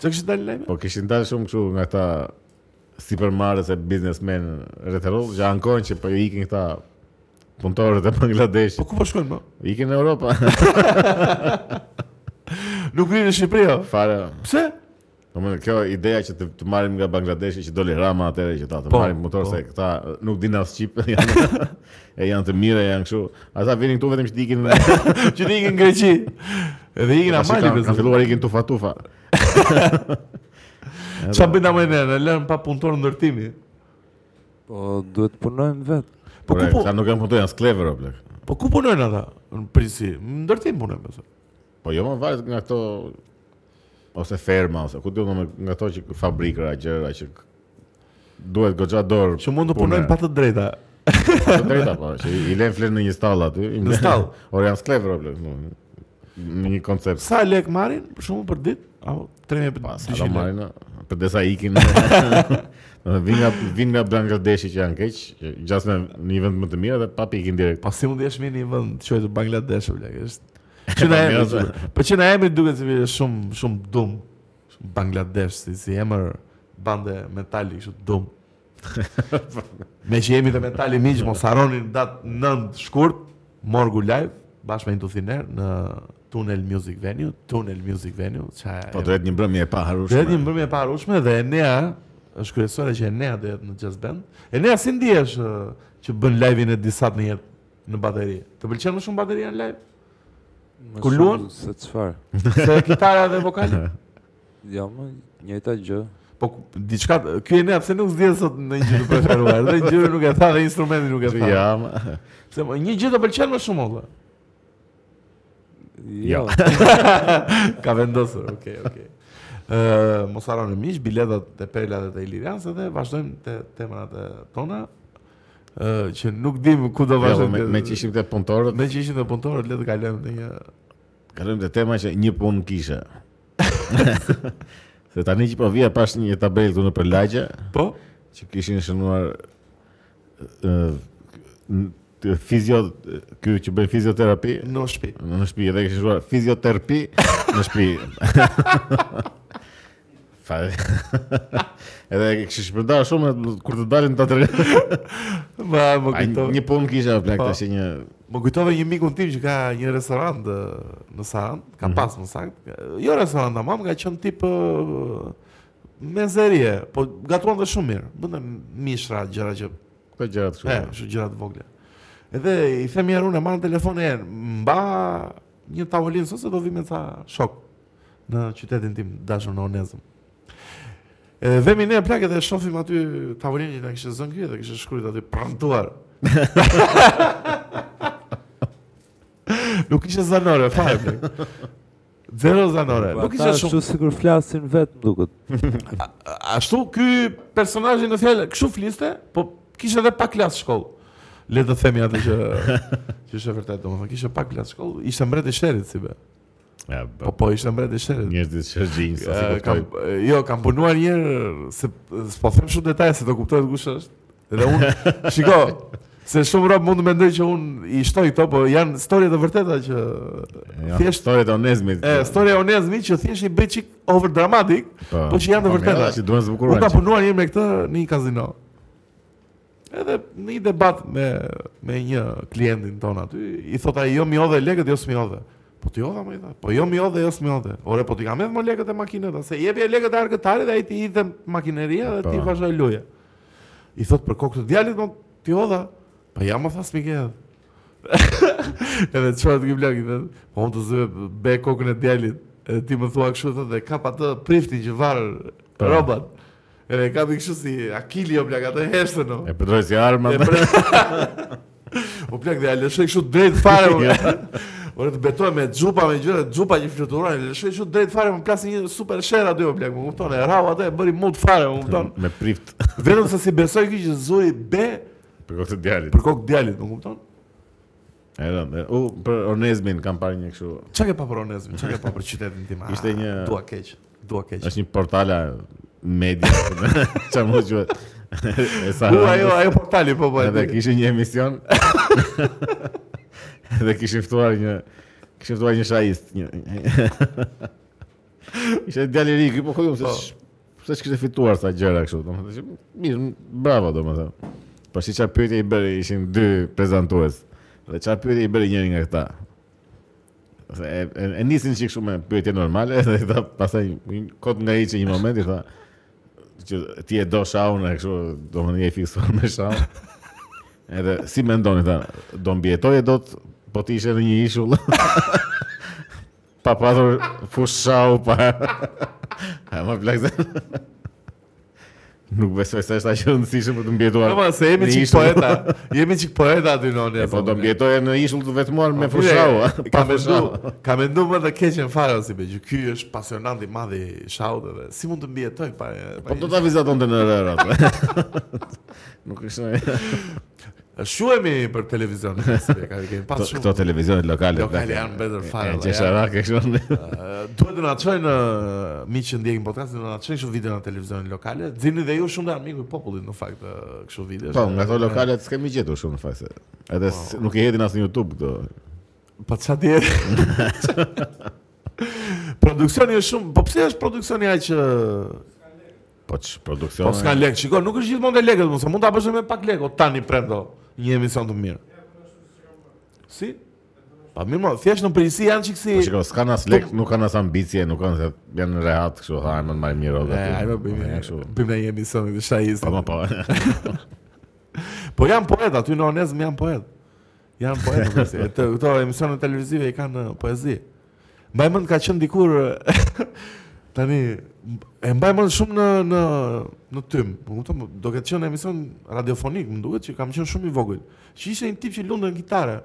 Çka kishte dalë lajme?
Po kishin dalë shumë kështu nga ata supermarkete e biznesmen rrethull që ankojnë që po ikin këta punëtorët e
Po
Bangladeshit.
ku po shkojnë më?
Ikin në Europë.
Nuk rinë në Shqipëri, o.
fare
Pse?
Po më kjo ideja që të, të marrim nga Bangladeshi që doli Rama atëre që ta të
Po,
marrim motor
po.
se këta e, nuk dinë as shqip janë e janë të mira janë kështu. Ata vinin këtu vetëm që të ikin
Që të ikin në Greqi. Edhe ikin
Tash
Amali,
kanë- kanë
besoj.
filluar ikin tufa tufa.
Qa bëjnë amë e ne, në lënë pa punëtor ndërtimi.
Po duhet punojmë vetë.
Po ku po,
Ata nuk janë punëtor, janë sklever o plak.
po ku punojnë ata? Në Prisi, ndërtim punojnë, besoj.
Po jo më varet nga këto ose ferma ose ku diun nga ato që fabrikëra gjëra që k- duhet goxha dorë.
Që mund të punojnë pa të drejta.
pa të drejta po, që i- i lën flet në një stall aty. i
Në
lën-
stall.
Ora janë sklever o plak. nuk- Në një koncept
Sa lek marrin, për shumë për ditë? Apo, 3.000
Pas,
për
ata
200 lek.
marrin, për desa ikin. Vin nga vin nga Bangladeshi që janë keq, që gjas me në një vend më të mirë dhe papi ikin direkt.
Po si mund të jesh mirë në një vend të quajtur Bangladesh, bla, është. Që na
mirë,
emri,
se-
po që na emri duket se është shumë shumë dum. Shumë Bangladesh si si emër bande metali kështu dum. Me që jemi të metali miq, mos harroni në datë 9 shkurt Morgu Live bashkë me Intutiner në Tunnel Music Venue, Tunnel Music Venue, çaj.
Po do jetë një mbrëmje e paharrueshme.
Dhe një mbrëmje e paharrueshme dhe Enea është kryesore që Enea do jetë në jazz band. Enea si ndihesh ë, që bën live-in e disat në jetë në bateri? Të pëlqen më shumë bateria në live?
Më
Ku
shumë
luan?
Se çfarë?
Se kitara dhe vokali?
Jo, më njëjta gjë.
Po ku- diçka, ky Enea pse nuk zgjedh sot në një gjë të preferuar? Dhe gjëra nuk e tha dhe instrumenti nuk e tha.
Ja, ma-
Pse më- një gjë të pëlqen më shumë olla.
Jo.
Jo.
Ka vendosur. Okej, okej. Ë, mos harroni miq, biletat te Perla dhe te Ilirians edhe vazhdojmë te temat e tona. Ë, që nuk dim ku do
jo,
vazhdojmë.
me,
te-
me që ishim të punëtorët,
Me që ishin dhe punëtorët, le të kalojmë në një...
kalojmë te tema që një punë kishe. Se tani që po vija pas një tabelë këtu në përlagje,
Po?
që kishin shënuar ë, n- të fizio ky që bën fizioterapi
Në shpi.
në shtëpi edhe kishin shkruar fizioterapi në shtëpi. Fare. edhe kishin shpërndar shumë kur të dalin ta tre.
Ma, më
Ai,
kujtove,
Një punë kisha plak
Po.
tash një
më kujtove një mikun tim që ka një restorant ë, në Sarand, ka pas më sakt. Jo restorant tamam, ka qenë tip ë, mezerie, po gatuan dhe shumë mirë. Bënte mishra, gjëra që
këto gjëra të
E,
kështu.
kështu gjëra të vogla. Edhe i themi herun e marr telefonin e herë, mba një tavolinë sot se do vi me ca shok në qytetin tim dashur në Onezëm. E vemi ne plakët e shofim aty tavolinën që na kishte zënë ky dhe kishte shkruar aty prantuar. Nuk ishte zanore, fare. plak. Zero zanore. Nuk ishte shumë.
po Ashtu sikur flasin vetë më duket.
Ashtu ky personazhi në fjalë kështu fliste, po kishte edhe pak klas shkollë. Le të themi atë që që është e vërtetë, domethënë kishte pak klas shkollë, ishte mbret i sherit si be.
Ja,
Po po ishte mbret i sherit.
njerëzit shërgjin, sa si po
Eh,
kuptoj.
kam, eh, jo, kam punuar një herë se s'po them shumë detaje se do kuptohet kush është. Dhe unë shiko, se shumë rob mund të mendoj që unë i shtoj këto, po janë histori të vërteta që
Ja,
thjesht
historia e Onezmit.
e histori e Onezmit që thjesht i bëj çik over dramatik, po që janë të vërteta.
Që duhen
Unë
zbukurojnë.
kam punuar një herë me këtë në një kazino. Edhe në një debat me me një klientin ton aty, i thot ai jo mi hodhe lekët, jo s'mi hodhe. Po ti hodha më i tha. Po jo mi hodhe, jo s'mi hodhe. Ore, po ti kam edhe më lekët e makinës, se jepi lekët e arkëtarit dhe ai ti i dhe makineria dhe ti
Po.
vazhdoi loja. I thot për kokë të djalit, mo ti hodha. Po ja më tha s'mi ke edhe. edhe çfarë të blaq i thot. Po unë të zë be kokën e djalit. Edhe ti më thua kështu thotë, kap atë priftin që varr
Po.
robat. Edhe e kapi kështu si Akili o plak atë heshtën o.
E po. përdroj si armë.
E
atë.
pre- O plak dhe ja lëshoj kështu drejt fare. o. Ore të betoj me xhupa me gjëra, xhupa që fluturon, e lëshoj kështu drejt fare, më plas një super sher aty o plak, më kupton? E rau atë e bëri mund fare, më kupton?
Me prift
Vetëm se si besoj ky që zuri be
për këtë djalit.
për kokë djalit, më kupton?
E rëndë. e, U për Onezmin kam parë një kështu.
Çka ke pa për Onezmin? Çka ke pa për qytetin tim? Ah,
Ishte një-
dua keq, dua keq.
Është një portala media. Çfarë më quhet? E sa.
U ajo ajo portali po po. e
Edhe
di.
kishin një emision. Edhe kishin ftuar një kishin ftuar një shahist, një. Ishte djalë i ri, ky po kujtum se
Po.
sh- pse s'kishte fituar sa gjëra kështu, domethënë. që, Mirë, m- bravo domethënë. Po si çfarë pyetje i bëri, ishin dy prezantues. Dhe çfarë pyetje i bëri njëri nga këta? Se e, e, e nisin çik shumë me pyetje normale dhe i tha pastaj një- kot nga hiçi një moment i tha që ti e do shaun e kështu, domethënë je i fiksuar me shaun. Edhe si mendoni ta, do mbijetoje dot po ti ishe në një ishull. pa pasur fushau pa. A më plagë. Nuk besoj se është aq e rëndësishme për të mbijetuar.
Po se jemi
në
çik
ishull.
poeta. Jemi çik poeta aty në Onezmin.
E, po do mbjetoje në ishull të vetmuar me
Po,
fushau,
mire,
pa
ka mendu,
fushau.
ka mendu më të keqen fare o si be, që ky është pasionant i madh i shaut edhe si mund të mbijetoj pa
Po do ta vizatonte në rër atë. Nuk është
Shuhemi për televizion, si be, ka kemi pas
Po, këto
shumë.
televizionet lokale.
Lokale janë mbetër fare, valla,
Gjeshara kështu.
Ë, Duhet të na çojnë ë, miqë që ndjekin podcastin, do na çojnë kështu video në televizionin lokale. Zini dhe ju shumë janë miku i popullit në fakt ë, kështu video.
Po, nga ato lokalet s'kemi gjetur shumë në fakt se. Edhe s- nuk i hedhin as në YouTube këto.
Po ça di. Produksioni është shumë, po pse është produksioni aq ë,
Po ç produksion.
Po s'kan lek, shiko, nuk është gjithmonë te lekët, mos mund ta bësh edhe me pak lekë, o tani prendo një emision të mirë. Si? Pa mirë, mo, thjesht në përgjithësi janë çik si
Po shiko, s'kan as lek, nuk kanë as ambicie, nuk kanë se janë në rehat kështu, ha, më marr mirë rrobat.
E, hajde bëjmë
Ja,
një- bëjmë një emision me shajist.
Po po po.
Po janë poet aty në Onezm janë poet. Janë poet. në përgjithësi. E, të- Këto emisionet televizive i kanë eh, poezi. Mbaj mend ka qenë dikur eh, tani e mbaj mend shumë në në në tym. Po kupton, do ketë qenë emision radiofonik, më duket që kam qenë shumë i vogël. Që ishte një tip që lundën kitare.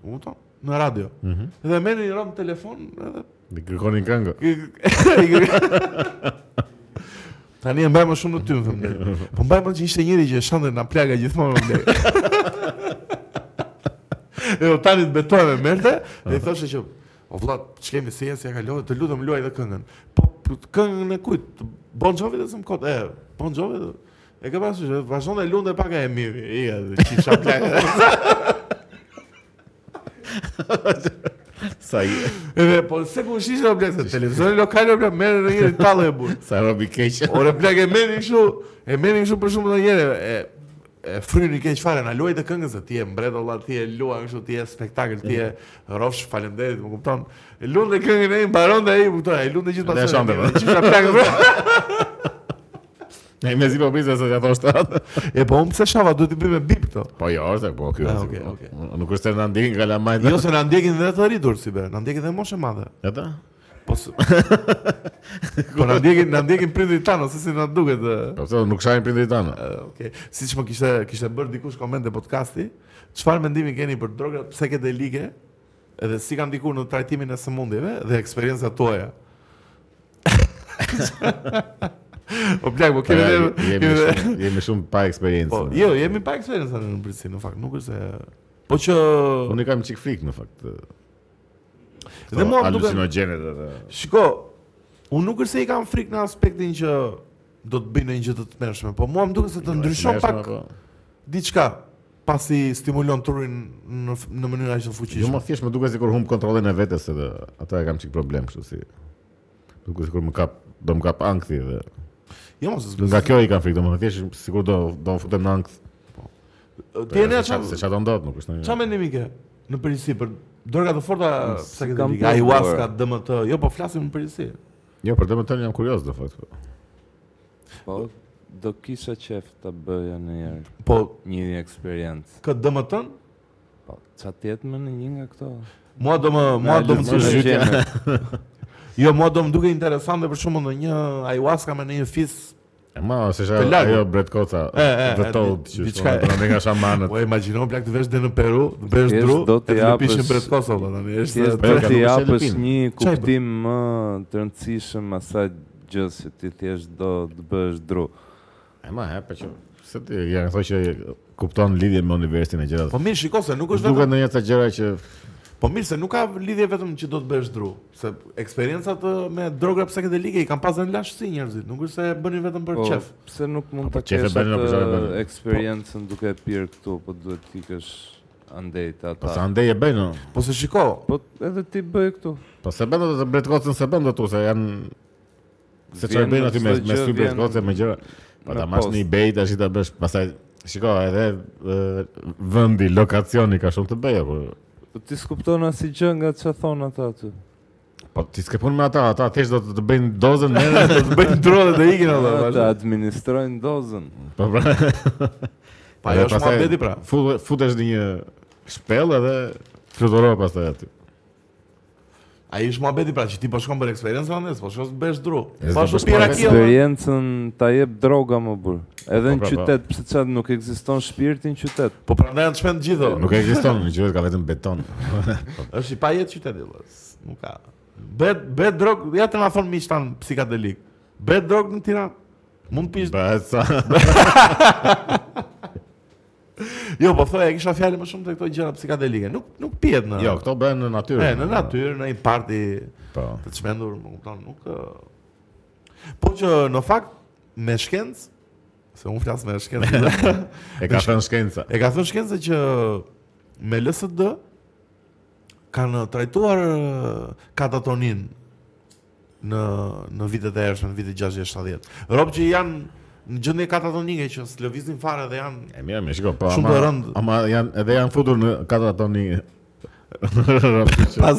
Po kupton, në radio.
Mhm.
Dhe merrni rom telefon edhe
Dhe kërkonin këngë.
Tani e mbaj më shumë në ty, më thëmë deri. Po mbaj më që ishte njëri që e shante na plaga gjithmonë më deri. E o Jo, tani të betoj me merte, dhe i thoshe që, o vlla, ç'kemi si jenë, si ja kalove, të lutem luaj dhe këngën. Po p- këngën e kujt? Të Bon Jovi dhe s'm kot. E, Bon Jovi. Dhe... E ka pasur që vazhdon dhe lundë e paka e mirë. Ija, dhe qisha plaga.
Sa i
Edhe po se ku shisha plagë, televizioni lokal o plagë, merë në njëri tallë e burë.
sa robi keq.
Ore plak e merrin kështu, e merrin kështu për shumë ndonjëherë e e fryni keq fare na luaj të këngës se ti e mbret olla ti e luan kështu ti e spektakël ti e rrofsh faleminderit më kupton e lundë këngën e mbaron dhe ai më kupton e lundë gjithë
Dhe e
pasojën,
shante, po.
e qisha plak e-
Ne me zi po prisë se ja thosh atë.
e po unë pse shava duhet i bëj me bip këto
Po jo, është po ky.
Ah,
është,
okay,
po.
okay.
Nuk është se na ndjekin kalamajt.
jo se na ndjekin dhe të rritur si be na ndjekin dhe moshë e madhe
Ata?
Po s- Po na ndjekin, na ndjekin prindrit tanë ose si na duket. ë.
Po pse nuk shajin prindërit tanë?
Ë, Okej. Eh, Siç më kishte kishte bërë dikush komente podcasti, çfarë mendimi keni për drogat psikedelike edhe si kanë ndikuar në trajtimin e sëmundjeve dhe eksperiencat tuaja? o plak, po kemi
Pra, Jemi, jemi,
dhe- kemi dhe-
shumë, jemi shumë pa eksperiencë.
Po, jo, jemi pa eksperiencë në Prishtinë, në fakt, nuk është se Po që
Unë i kam çik frikë në fakt.
dhe mua më duket
alucinogenet edhe.
Shiko, unë nuk është se i kam frikë në aspektin që do të bëjnë një gjë të tmerrshme, po mua më duket se të ndryshon
Meshma,
pak
po.
diçka pasi stimulon trurin në f- në mënyrë aq të
Jo më
fuqishme.
thjesht më duket sikur humb kontrollin e vetes edhe ata e kam çik problem kështu si. Duket sikur më kap do më kap ankthi dhe
Jo mos zbes.
nga kjo i kam frikë, domethënë thjesht sikur do do më futem në ankth.
Ti e ne
Se
çfarë
se çfarë do ndodh nuk është
çfarë
ndonjë.
mendimi ke në përgjithësi për droga të forta
Si kam po-
psikedelike,
provuar.
ayahuasca, DMT, jo po flasim në përgjithësi.
Jo, për domethënë jam kurioz në fakt. po.
Po, do kisha qef të bëja në njerë
Po
një eksperiencë.
këtë DMT-n
Po, qa tjetë më në një nga këto?
Mua do më, mua Po, do më
lëmë,
Që
Zhytja.
thënë,
qenë,
jo mua do më duke interesante për shkakun ndonjë ayahuasca me ndonjë fis
E ma, se
Të
shë
largu.
ajo bret koca
E, e, e,
Vëtold
di-
që
diçka-
shkonë Të nga shamanët
Po imagjino plak të vesh dhe në Peru, të bësh
Thjesht
dru,
do
e
t'i
të lëpishin
japësh-
brez Kosovë tani. Është
thjesht
Po,
do
ka
t'i
nuk është
japësh
Filipin.
një
Çaj bën?
kuptim më të rëndësishëm asaj gjë se ti thjesht do të bësh dru.
E ma, e, për që Se ti, janë thoi që kupton lidhje me universin e gjërat
po mirë, shiko se nuk është
Duket
vetëm,
në një të gjëra që
po mirë se nuk ka lidhje vetëm që do të bësh dru, se eksperiencat ë, me droga psikedelike i kanë pasur në lashtë si njerëzit, nuk është se bënin vetëm për
Po,
qef.
pse nuk mund
Po,
ta
qef e
kesh
bënin, apo çfarë e
atë
bënin? Po.
eksperiencën duke e pirë këtu, po duhet t'i kesh andej të
Po se
ata.
andej e bëjnë no.
Po se shiko,
Po edhe ti bëj këtu.
Po se bëjnë do të bret kocën se bëjnë do tu Se janë Se që
Vjen
bëjnë aty me,
çdo
me
gjë,
sy bret
vjen
kocë me gjëra Po
me
ta mash
post.
në ebay të ashtë të bësh Pasaj Shiko, edhe e, vendi, lokacioni ka shumë të bëja, po
Po ti skupton asnjë gjë nga çfarë thon ata aty.
po ti s'ke punë me ata, ata thjesht do të të bëjnë dozën merre,
do të bëjnë dru dhe të ikin atë.
Ata
vazhdo.
administrojnë dozën.
po pra.
Po ajo është muhabeti pra.
Fut, futesh në një shpellë edhe fluturo pastaj aty.
Ai është muhabeti pra që ti po shkon për eksperiencë andes, po shkon të bësh dru.
E, s'do
Po ashtu
bësh
pira
muhabet.
kjo. valla.
Eksperiencën ta jep droga më burr. Edhe
Po,
në
pra, po.
qytet, pse çad nuk ekziston shpirti në qytet.
Po prandaj janë të shpend gjithë.
Nuk ekziston, në qytet ka vetëm beton.
Është i pa jetë qyteti, vëlla. S- Nuk ka. Bet bet drog, ja të na thon miq tan psikadelik. Bet drog në Tiranë. Mund pish.
Bëhet sa.
Jo, po thoya, kisha fjalë më shumë te këto gjëra psikadelike. Nuk nuk pihet në.
Jo, këto bëhen në natyrë.
E, në natyrë, në një parti
Po.
të çmendur, më kupton, nuk ë, Po që në fakt me shkencë, se unë flas me shkencë.
E ka thënë shkenca.
e ka thënë shkenca që me LSD kanë trajtuar ë, katatonin në në vitet e erdhshme, në vitet 60-70. Rob që janë në gjendje katatonike që s'lëvizin fare dhe janë
E mira, më shiko, po.
Shumë
ama-
të rëndë.
Ama janë edhe janë futur në katatoni. Që
pas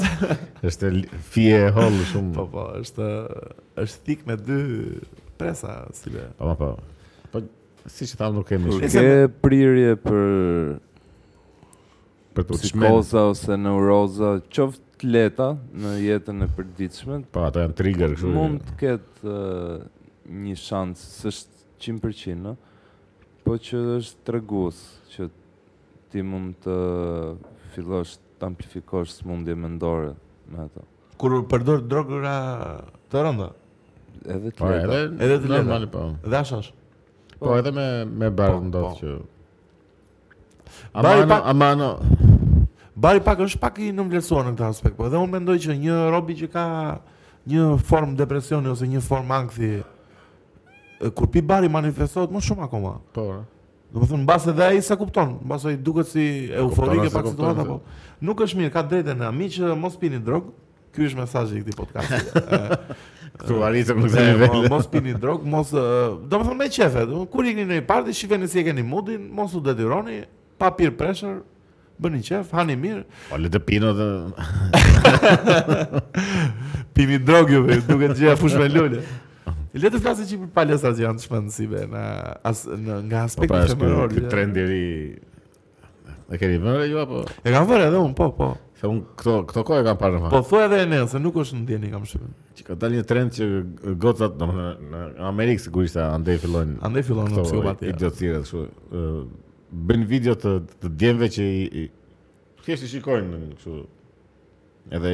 Është li- fije e hollë shumë.
po po, është është thik me dy presa si be.
Po, po. Po siç tham nuk kemi
Kur
shumë
Ese-
ke prirje për
Po, për të çmendur.
psikoza ose neuroza, qoftë leta në jetën e përditshme,
Po, ato janë trigger kështu.
mund të ketë ë, një shans, s'është 100%, në, po që është tregues që ti mund të fillosh të amplifikosh smundje mendore me ato.
Kur përdor drogra të rënda
Edhe të
Po,
leta.
edhe
Edhe të leta.
normal, po.
dhe ashash.
Po edhe me me
Po,
bar ndodh
po.
që.
Bari
Amano,
pa-
amano.
Bari pak është pak i nëmvlerësuar në këtë aspekt, po edhe unë mendoj që një robi që ka një formë depresioni ose një formë ankthi, e, kur pi bari manifestohet më shumë akoma.
Po.
Do të thonë mbas edhe ai sa kupton, mbas ai duket si euforike
kupton,
pak
se
situata
kupton,
po. Nuk është mirë, ka drejtë na miq, mos pini drog. Ky është mesazhi i këtij podcasti.
Këtu arritëm në
Dhe,
këtë nivel.
mo- mos pini drog, mos do të thonë me qefe, do, kur ikni në një parti, shifeni si e keni moodin, mos u detyroni, pa peer pressure, bëni qef, hani mirë,
Po le të pino dhe
Pini drog ju, be, duket gjëja fush me lule. Le të flasim çik për palestra që janë çmend si be në as në nga
po
aspekti
pra është ky-
ε. femëror.
ky
gjë.
trend i ri. E keni vënë ju apo?
E kam vënë edhe un, po, po.
Se unë këto, këto kohë e kam parë në fakt.
Po thuaj edhe e ne, se nuk është ndjeni kam shqipin.
Që ka dalë një trend që gocat, domethënë në Amerikë sigurisht se andej fillojnë.
Andaj fillon po, në psikopatia.
Idiotësira kështu. ë, Bën video të të djemve që i, i thjesht i shikojnë kështu. Edhe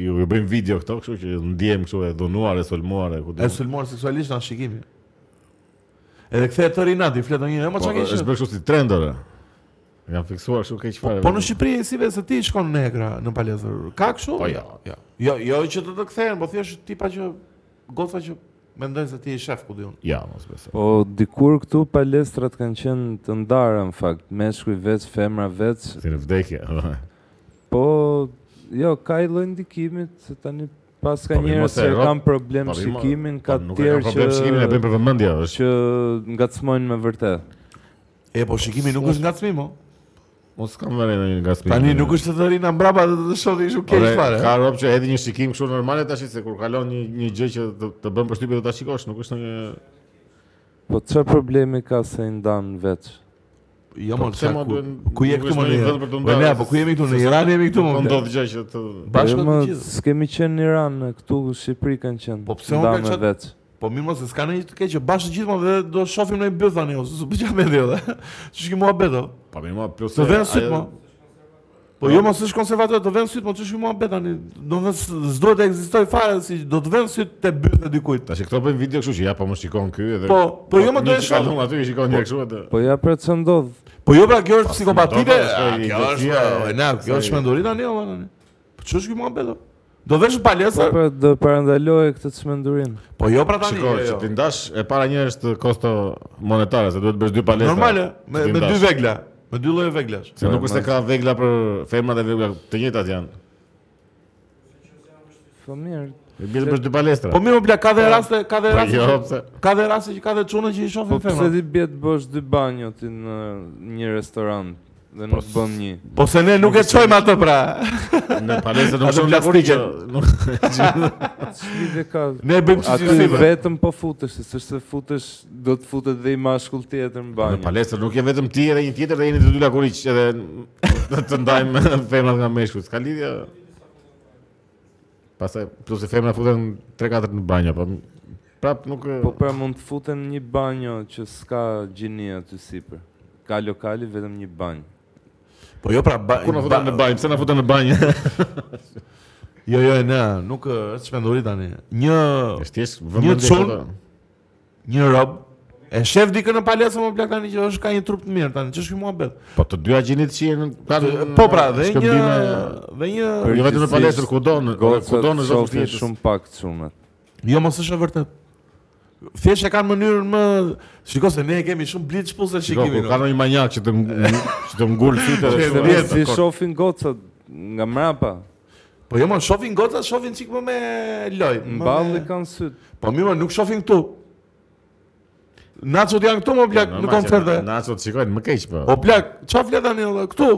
ju ju bëjnë video këto, kështu që ndjem kështu e dhunuar e sulmuar e ku
E sulmuar seksualisht nga shikimi. Edhe kthehet të rinati, flet ndonjë, "E,
Po,
mo çka ke
është
qenë?"
bërë kështu si trend ora. E Kam fiksuar kështu keq fare.
Po në Shqipëri si vetë se ti shkon në egra në palestër. Ka kështu?
Po, jo,
jo. Jo, jo që të të kthehen, po thjesht tipa që goca që mendojnë se ti je shef ku diun.
Ja, mos besoj.
Po dikur këtu palestrat kanë qenë të ndara në fakt, meshkuj veç, femra veç.
Si në vdekje.
Po jo, ka i lloj ndikimit se tani pas ka
Po, mirë,
njerëz
mos e
që
ro-
kanë problem
Po, mirë, mo-
shikimin, ka
po,
të
nuk e
tjerë
kam problem shikimin e bëjmë
që
për vëmendje, është.
që ngacmojnë me vërtet.
E po shikimi nuk është ngacmim, o.
Mos kam vënë ndonjë gaspim.
Tani nuk është të të rina mbrapa dhe të të shohë kështu
Ore,
keq fare. eh?
Ka rob që hedhi një shikim kështu normale tash se kur kalon një një gjë që të, të bën përshtypje do ta shikosh, nuk është një
Po çfarë problemi ka se i ndanë veç?
Jo
Po
më
pse
çka
mo
ku,
duhen-
ku je
nuk
këtu
është
më
ndonjë vend për të
ne? Po
ndarë,
ne, po ku jemi këtu në Iran jemi këtu
Po
më.
ndodh
bler.
gjë që të
Bashkë me
Jo, më
gjithë.
s'kemi qenë në Iran, këtu në Shqipëri kanë qenë.
Po, pse unë
nda
kanë
me
qenë-
veç?
Po mirë mos se s'ka ndonjë të keq, që bashkë të gjithë mo dhe do shohim në byth tani ose s'u bëj me dhe. Ç'është muhabet o?
Po mirë, mo, plus
Të
se
vën syt
ajo-
mo. Po jo mos është konservator, të vën syt mo, ç'është muhabet tani? Do të thënë s'duhet të ekzistojë fare si do të vën syt te byth e dikujt.
Tash këto bën video kështu që ja po më shikon ky edhe
Po, po jo më do
një
të
që
shoh.
kalon aty i shikon një kështu atë.
Po ja pra ç'a ndodh?
Po jo pra kjo është psikopatike.
s'do, s'do,
a, Kjo
idiotësia,
është, e, na, kjo
s'do,
është menduri tani o tani. Po ç'është kjo muhabet o? Do vesh në
Po
palestër?
pra do parandaloje këtë çmendurim.
Po jo pra tani.
Shikoj, që
jo, jo.
ti ndash e para një është kosto monetare, se duhet bësh dy palestra.
Normale, me,
Që ti
me dy
ndash.
vegla, me dy lloje veglash.
Se nuk është se ka vegla për femrat dhe vegla të njëjtat janë.
Po mirë.
E bie të bësh dy palestra.
Po mirë, bla, ka dhe raste, ka dhe
Po
raste.
jo,
që-
pse?
Ka dhe raste që ka dhe çuna që i
Po
shohin
pse
femra.
ti bie të bësh dy banjo ti në një restorant dhe nuk bën një?
Po se ne nuk e çojmë atë pra.
Në palestra nuk
Ato
shon plastike.
plastike.
Nuk
Çfarë ka?
Ne e bëjmë si
Aty
si.
vetëm po futesh, se s'është se futesh, do të futet dhe i mashkull tjetër në
Në
banjë.
palestër nuk je vetëm ti edhe një tjetër dhe jeni të dy lakuriç edhe të- të ndajmë femrat nga meshkut. S'ka lidhje. Pastaj plus e femra futen 3-4 në banjë, po prap nuk e-
Po pra mund të futen në një banjo që s'ka gjini aty sipër. Ka lokali vetëm një banjë.
Po jo pra, ba,
ku na futen në banjë, pse na futen në banjë?
Jo, jo, ne, nuk e, është shpenduri tani. Një
Është thjesht vëmendje.
çun.
këto.
një rob E shef dikën në palesë më plak tani që është ka një trup të mirë tani, ç'është kjo muhabet?
Po të dyja gjinit shihen kanë
Po pra, dhe një
shkëmbime-
dhe një
Jo vetëm në palestër kudo në
Gocat
kudo në çdo
shohin shumë pak çumet.
Jo, mos është e vërtet. Thjesht e kanë mënyrën më Shikoj se ne e kemi shumë blitë shpusë
Shikimin.
shikimin.
Ka ndonjë manjak që të ng- që të ngul sytë
Që
dhe
e
vjen
vjen.
Si shohin gocat nga mrapa,
Po jo, më shohin goca, shohin çik më me loj. më
mballi
me-
kanë syt.
Po mirë, më nuk shohin këtu. Nacot janë
Jo,
këtu më plak në koncerte.
Na sot shikojnë më keq po.
O plak, çfarë flet tani olla këtu?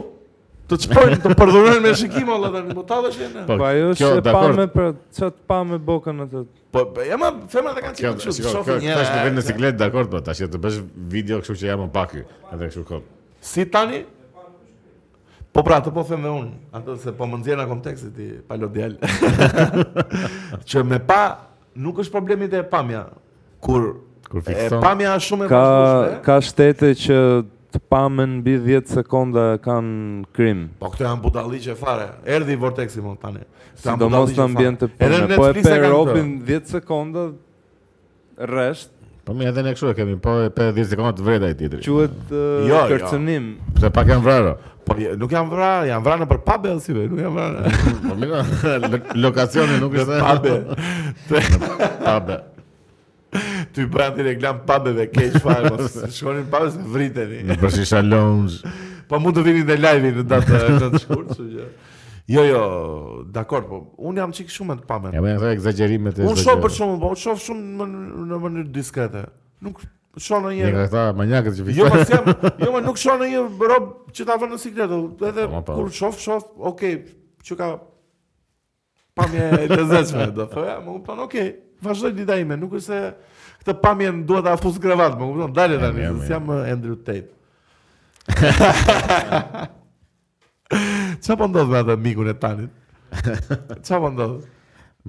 Të çpojnë, të përdhurojnë me shikim olla tani, po ta vesh
Po,
jena.
Po ajo
kjo,
është e pa
dakord.
me pra çat pa me bokën atë.
Po ja më femrat e kanë
Kjo,
çik kështu,
shiko, kjo,
shohin
kjo është në vend në
një.
siklet, dakord, po, tash të bësh video kështu që jam më pak ky. Edhe kështu kom.
Si tani? Po pra, të po them dhe unë, atë se po më nxjerr nga konteksti ti palo djal. që me pa nuk është problemi te e pamja. Kur
Kur
e
fikson.
pamja është shumë e
Ka
vazhdueshme. eh?
ka shtete që të pamen mbi 10 sekonda kanë krim.
Po këto janë budalliqe fare. Erdhi vorteksi më tani. Këto janë
Sidomos
budalliqe
në
fare.
ambiente
Edhe
pune. Po e
Netflix
pe
kanë
Europin
këto.
10 sekonda rresht
Po mirë, edhe ne kështu e kemi, po e pe 10 sekonda të vreda i tjetri.
quhet
Jo,
eh,
jo.
kërcënim.
Se pak janë vrarë.
Po je- nuk janë vra, janë vra në për pabe si be, nuk janë vra. në-
Po mirë, lo- lokacioni nuk
Në
është.
pabe.
Pabe.
Ty bën ti reklam pabe dhe keq fare, mos shkonin pabe se vriteni.
Në përshisha lounge.
Po mund të vini dhe live në datë të të shkurt, kështu që. Jo, jo, dakor, po unë jam çik shumë e të pabe.
Ja më këto egzagjerimet e.
Unë shoh për shumë, po unë shoh shumë në mënyrë- në mënyrë diskrete. Nuk shoh
Një
ndonjë
nga këta manjakët që
Jo,
fikson.
mos jam, jo, më nuk shoh në një rob që ta vënë në sikletë, edhe
Po, ma pa.
kur shoh, shoh, okay, që ka pamje e lezetshme, do thoya, më kupton, okay, vazhdoj dita ime, nuk është se këtë pamjen duhet ta fus krevat, më kupton, dalje
mirë,
tani,
mirë.
se jam eh, Andrew Tate. Qa po ndodh me atë mikun e tanit? Qa po ndodh?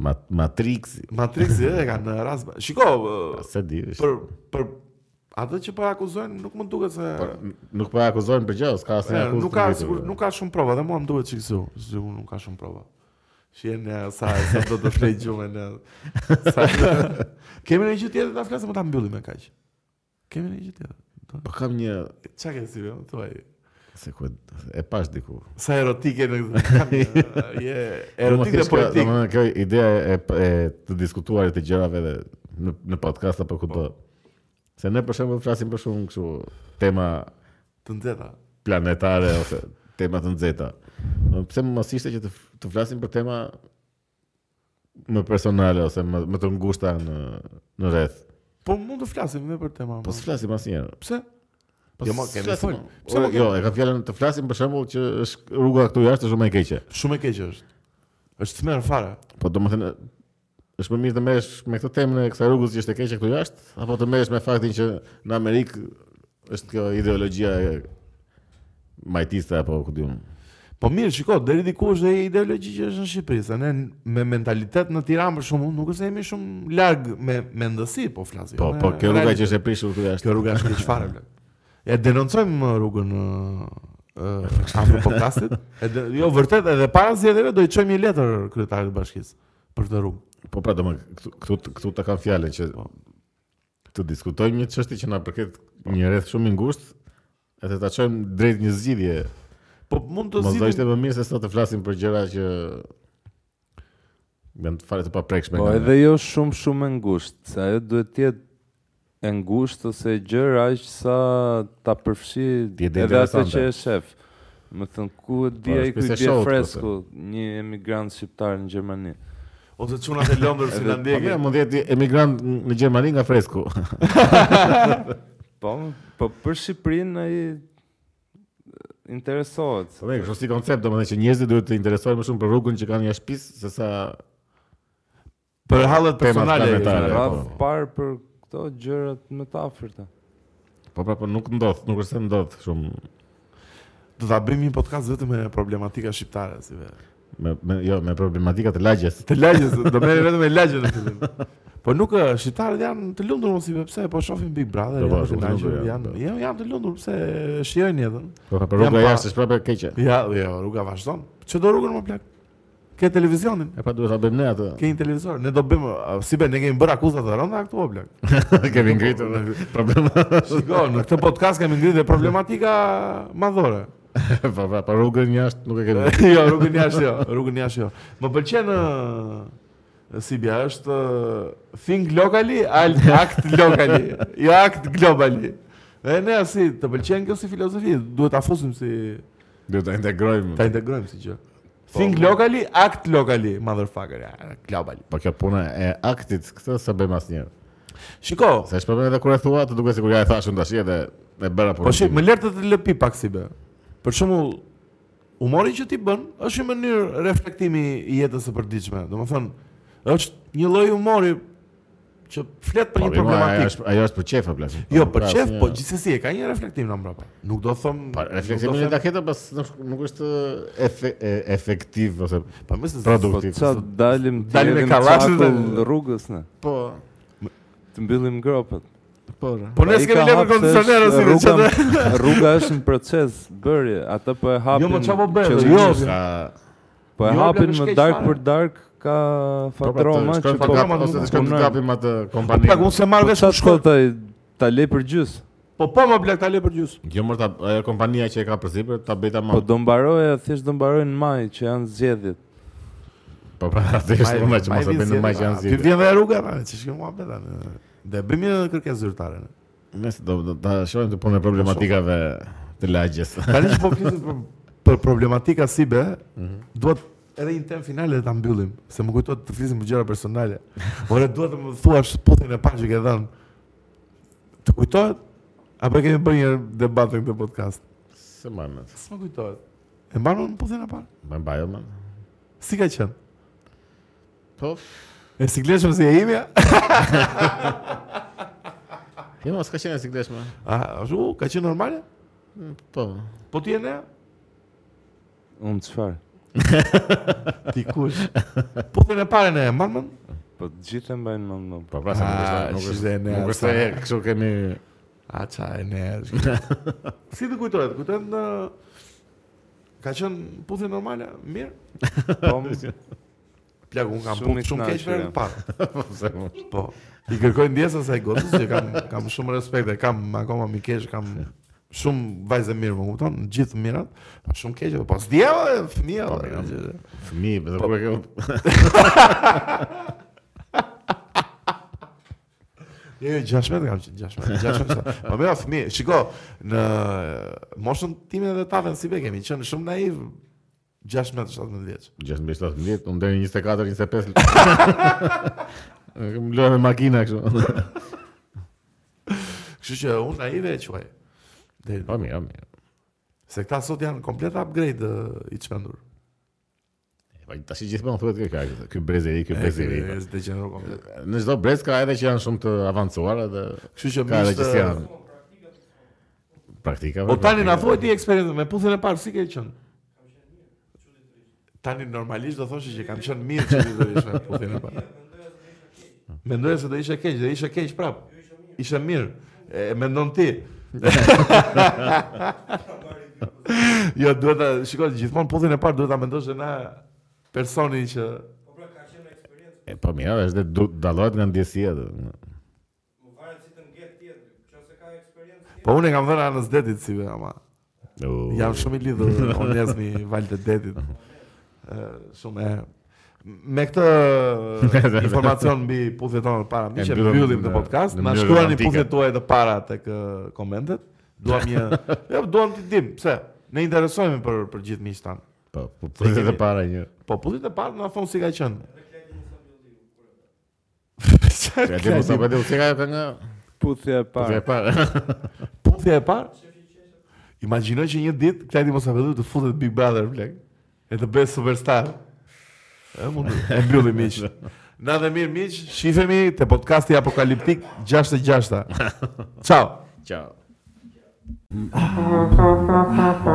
Ma- Matrixi.
Matrixi e kanë rast. Shiko, ë,
Po, Se di. është.
për për atë që po akuzojnë nuk më duket se
Por, n- nuk po e akuzojnë për gjë, s'ka asnjë
E,
akuzë.
Eh, nuk
të po.
ka
drejtë,
sigur,
bre.
nuk ka shumë prova, dhe mua më duhet çiksu, sigur nuk ka shumë prova. Shien e sa sa do të flej gjumen. e, Sa Kemi një gjë tjetër ta flasim apo ta mbyllim me kaq? Kemi një gjë tjetër.
Po kam një
Çka ke si vëm thuaj?
se ku e- e pash diku.
Sa erotike në këtë. Je
Po,
erotik
thjesht
dhe
ka-
poetik.
domethënë, kjo ideja e, e të diskutuarit të gjërave dhe në, në podcast apo ku do. Se ne për shembull flasim për shumë kështu tema
Të nxehta.
planetare ose tema të nxehta. Ë, Pse mos ishte që të, f- të flasim për tema më personale ose më, më të ngushta në në rreth.
Po mund të flasim edhe për tema.
Po
ma.
s'flasim asnjëherë.
pse?
Po
Jo, ma,
s'flasim,
kemi fol.
ma.
Pse ma
O, Jo, e ka fjalën të flasim për shembull që është rruga këtu jashtë është shumë e keqe.
Shumë e keq është. Është smer fare.
Po domethënë është më mirë të merresh me këtë temën e kësaj rrugës që është e keqe këtu jashtë apo të merresh me faktin që në Amerikë është kjo ideologjia e majtiste apo ku diun.
Po mirë, shiko, deri diku është e ideologji që është në Shqipëri, se ne me mentalitet në Tiranë për shkakun nuk është se jemi shumë larg me me ndësi, po flasim.
Po,
me
po kjo rruga
realitet.
që është e prishur këtu jashtë.
kjo rruga është keq fare blek. Ja denoncojmë më rrugën ë ë afër podcastit. Edhe jo vërtet edhe para zgjedhjeve do i çojmë një letër kryetarit të bashkisë për këtë rrugë.
Po pra, domo, këtu këtu këtu ta kam fjalën që
Po.
të diskutojmë një çështje që na përket
Po.
një rreth shumë i ngushtë, e të ta çojmë drejt një zgjidhje.
Po mund të
Mos do ishte
zgjidhim.
më mirë se sa të flasim për gjëra që janë fare të paprekshme.
Po
nga-
edhe jo shumë shumë e ngushtë, se ajo duhet të jetë e ngushtë ose e gjërë aq sa ta përfshi
Ti jetë
edhe atë
interesante.
që e shef. Më thënë, ku e di
Po,
ai
është
ku
pjesë
i
e
bie
shohut,
fresku, një emigrant shqiptar në Gjermani.
Ose çunat e Londrës
Po
finlandie.
mira, mund të jetë emigrant në Gjermani nga fresku.
Po, po për Shqipërinë ai interesohet.
Po mirë, kështu si koncept, domethënë që njerëzit duhet të interesohen më shumë për rrugën që kanë jashtë shtëpisë se sa
Për hallet personale.
Temat planetare.
e-
Radh
po.
parë për këto gjërat më të afërta.
po pra po nuk ndodh, nuk është se ndodh shumë
Do ta bëjmë një podcast vetëm me problematika shqiptare, si vetë.
me, me jo me problematika të lagjes.
Të lagjes, do merrem vetëm me lagjen në fillim. Po nuk ë, shqiptarët janë të lumtur mos i ve pse, po shohin Big Brother,
Po, po,
janë të
shumë të
lagjen,
lumtur janë,
janë,
po.
janë, janë të lumtur pse shijojnë jetën.
Po pra po
Jam
rruga
pa-
jashtë është prapë e keqe.
Ja, jo, rruga vazhdon. Ço do rrugën më plak? Ke televizionin.
E pra duhet ta bëjmë ne atë.
Ke një televizor. Ne do bëjmë, a, si be ne kemi bërë akuza të rënda këtu o plak.
Kemi ngritur problem.
Shiko, në këtë podcast kemi ngritur dhe problematika madhore.
Po pra po rrugën jashtë nuk e kemi.
jo, rrugën jashtë jo, rrugën jashtë jo. Më pëlqen ë, Sibia është ë, think locally, al- act locally, jo act globally. Dhe ne si të pëlqen kjo si filozofi, duhet ta fusim si
Duhet ta integrojmë.
ta integrojmë si gjë. Think locally, act locally, motherfucker, ja, globally.
Po kjo puna e aktit këtë s'e bëjmë asnjëherë.
Shiko,
Se është problem edhe kur e thua, të duket sikur ja e thashun tash edhe e bëra punën.
po shik, më lërë të të lëpi pak si be. Për shembull, humori që ti bën është një mënyrë reflektimi i jetës së përditshme. Domethënë, është një lloj humori që flet për
Po,
një
mirë, ma, ajo
problematikë.
është- Ajo është për qefa bla.
Jo,
pra,
për çef, po
gjithë
gjithsesi e ka një reflektim në mbrapa. Nuk do thëm,
Pa, refleksimin e
nuk do them-
taketa pas nuk- nuk është efe, e, efektiv ose
Pa mëse
Po
produktiv.
ça dalim të
Dalim me
hedhim
kallashin dhe-
qakull rrugës ne.
Po,
Të mbyllim gropët.
po.
Po ne
i
s'kemi
ka
lekë
hapë
kondicioner
se
ose
është
çfarë. do-
Rruga, rruga është në proces bërje, ata po e hapin.
Jo, po çfarë po bën? Jo,
qëllimisht.
Ka
po e
jo,
hapin
plak,
më
shkeq
dark
fare.
për dark ka
po pra, të
fatroma
shkojmë
po
të
ka-
kap
punojnë.
ose të shkojmë të kapim atë kompaninë.
Plak, unë pra, se marr
Po
vesh
çfarë
shko.
shkoj ta ta le për gjys.
Po po më blek ta le për gjys.
Jo mërë ta ajo kompania që e ka përsipër ta bëj tamam.
Po do mbaroja, thjesht do mbaroj në maj që janë zgjedhjet.
Po pra, atë është më që mos e bëjnë në maj që janë
Ti
zgjidhje.
vjen dhe rruga, ma, që shkëm mua beta. Dhe bëjmë një kërkesë zyrtare. ne.
Nëse do do- ta shohim të punë e problematikave të lagjes.
Tani që po flisim për, për problematika si be, duhet edhe një temë finale ta mbyllim, se më kujtohet të flisim për gjëra personale. Ore duhet të më thuash puthin e parë që ke dhënë. Të kujtohet apo e kemi bërë një debat në këtë podcast?
Se manet.
S'më kujtohet. E mbaron puthin e parë?
Më mbajo man.
Si ka qenë?
Po.
E sikleshëm si e imja?
Jo, mos ka qenë siklesh më.
A, ashtu, ka qenë normale?
Po.
Po ti e ne?
Unë çfarë?
Ti kush? Puthën e parën e mban mend?
Po të gjithë e mbajnë mend më.
Po pra se nuk është,
Ah,
nuk
shizde,
është,
ne
nuk është
asta.
e kështu kemi
A ça e ne. si të kujtohet? Kujtohet në Ka qenë puthje normale, mirë.
Po më-
Plak, unë kam
Shumë i
puthë shumë keq
knaqur
për
jam.
pak.
se mu-
Po. I kërkoj ndjesën sa i gocës, që kam kam shumë respekt e kam akoma mi keq, kam shumë vajzë mirë, më kupton? Në gjithë mirat, pa shumë keq, po s'djeva fëmia.
Po,
dhe-
mirë. fëmijë, po ku e ke
Jo, jo, 16 kam qenë, 16, 16. sa. Po mira fëmijë, shiko, në moshën time dhe tatën si be kemi qenë shumë naiv 16, 17 vjeç.
16 17, unë deri 24 25. Më lëre me makina kështu.
Kështu që unë naive e quaj. Deri-
Po mirë, mirë.
Se këta sot janë komplet upgrade ë, i çmendur.
Po tash gjithmonë thuhet kjo kjo, ky brezeri, ky brezeri.
E, e, degeneroj komplet.
Në çdo brez ka edhe që janë shumë të avancuar edhe
Kështu që
ka edhe që
miqtë-
si janë. Praktika.
Po tani na
praktika.
thuaj ti eksperiencën me puthën e parë si ke qenë? Tani normalisht do thoshë që kam qenë mirë që do isha me puthën e parë. Mendoja se do isha keq, do isha keq prap. Isha mirë. E e mendon ti. jo, duhet ta shikoj gjithmonë puthën e parë duhet ta mendosh se na personi që
E, po mirë, është dhe du- dallohet nga ndjesia. dhe.
po unë e kam dhënë anës detit si be ama.
U,
Jam shumë i lidhur unë jam në valë të detit. Ë shumë e me këtë informacion mbi puthjet tona të para, mi
E
që
mbyllëm, e,
mbyllim të podcast,
në
na
mënyrë
shkruani
romantike.
puthjet tuaja të para tek ë, komentet. Duam një, jo, duam të dim, pse ne interesohemi për për gjithë miqtë tanë.
Po, po puthjet e
kemi-
para një.
Po puthjet e para na thon si ka qenë.
Ja di mos apo di se ka ka nga
Puthja e
puthja
parë.
e para.
Puthja e parë. Imagjino që një ditë Klajdi Mosafedhu të futet Big Brother blek. E të bëjë superstar. E mund e mbylli miq. Na dhe mirë miq, shifemi te podcasti apokaliptik 66-ta. Ciao.
Ciao.
Thank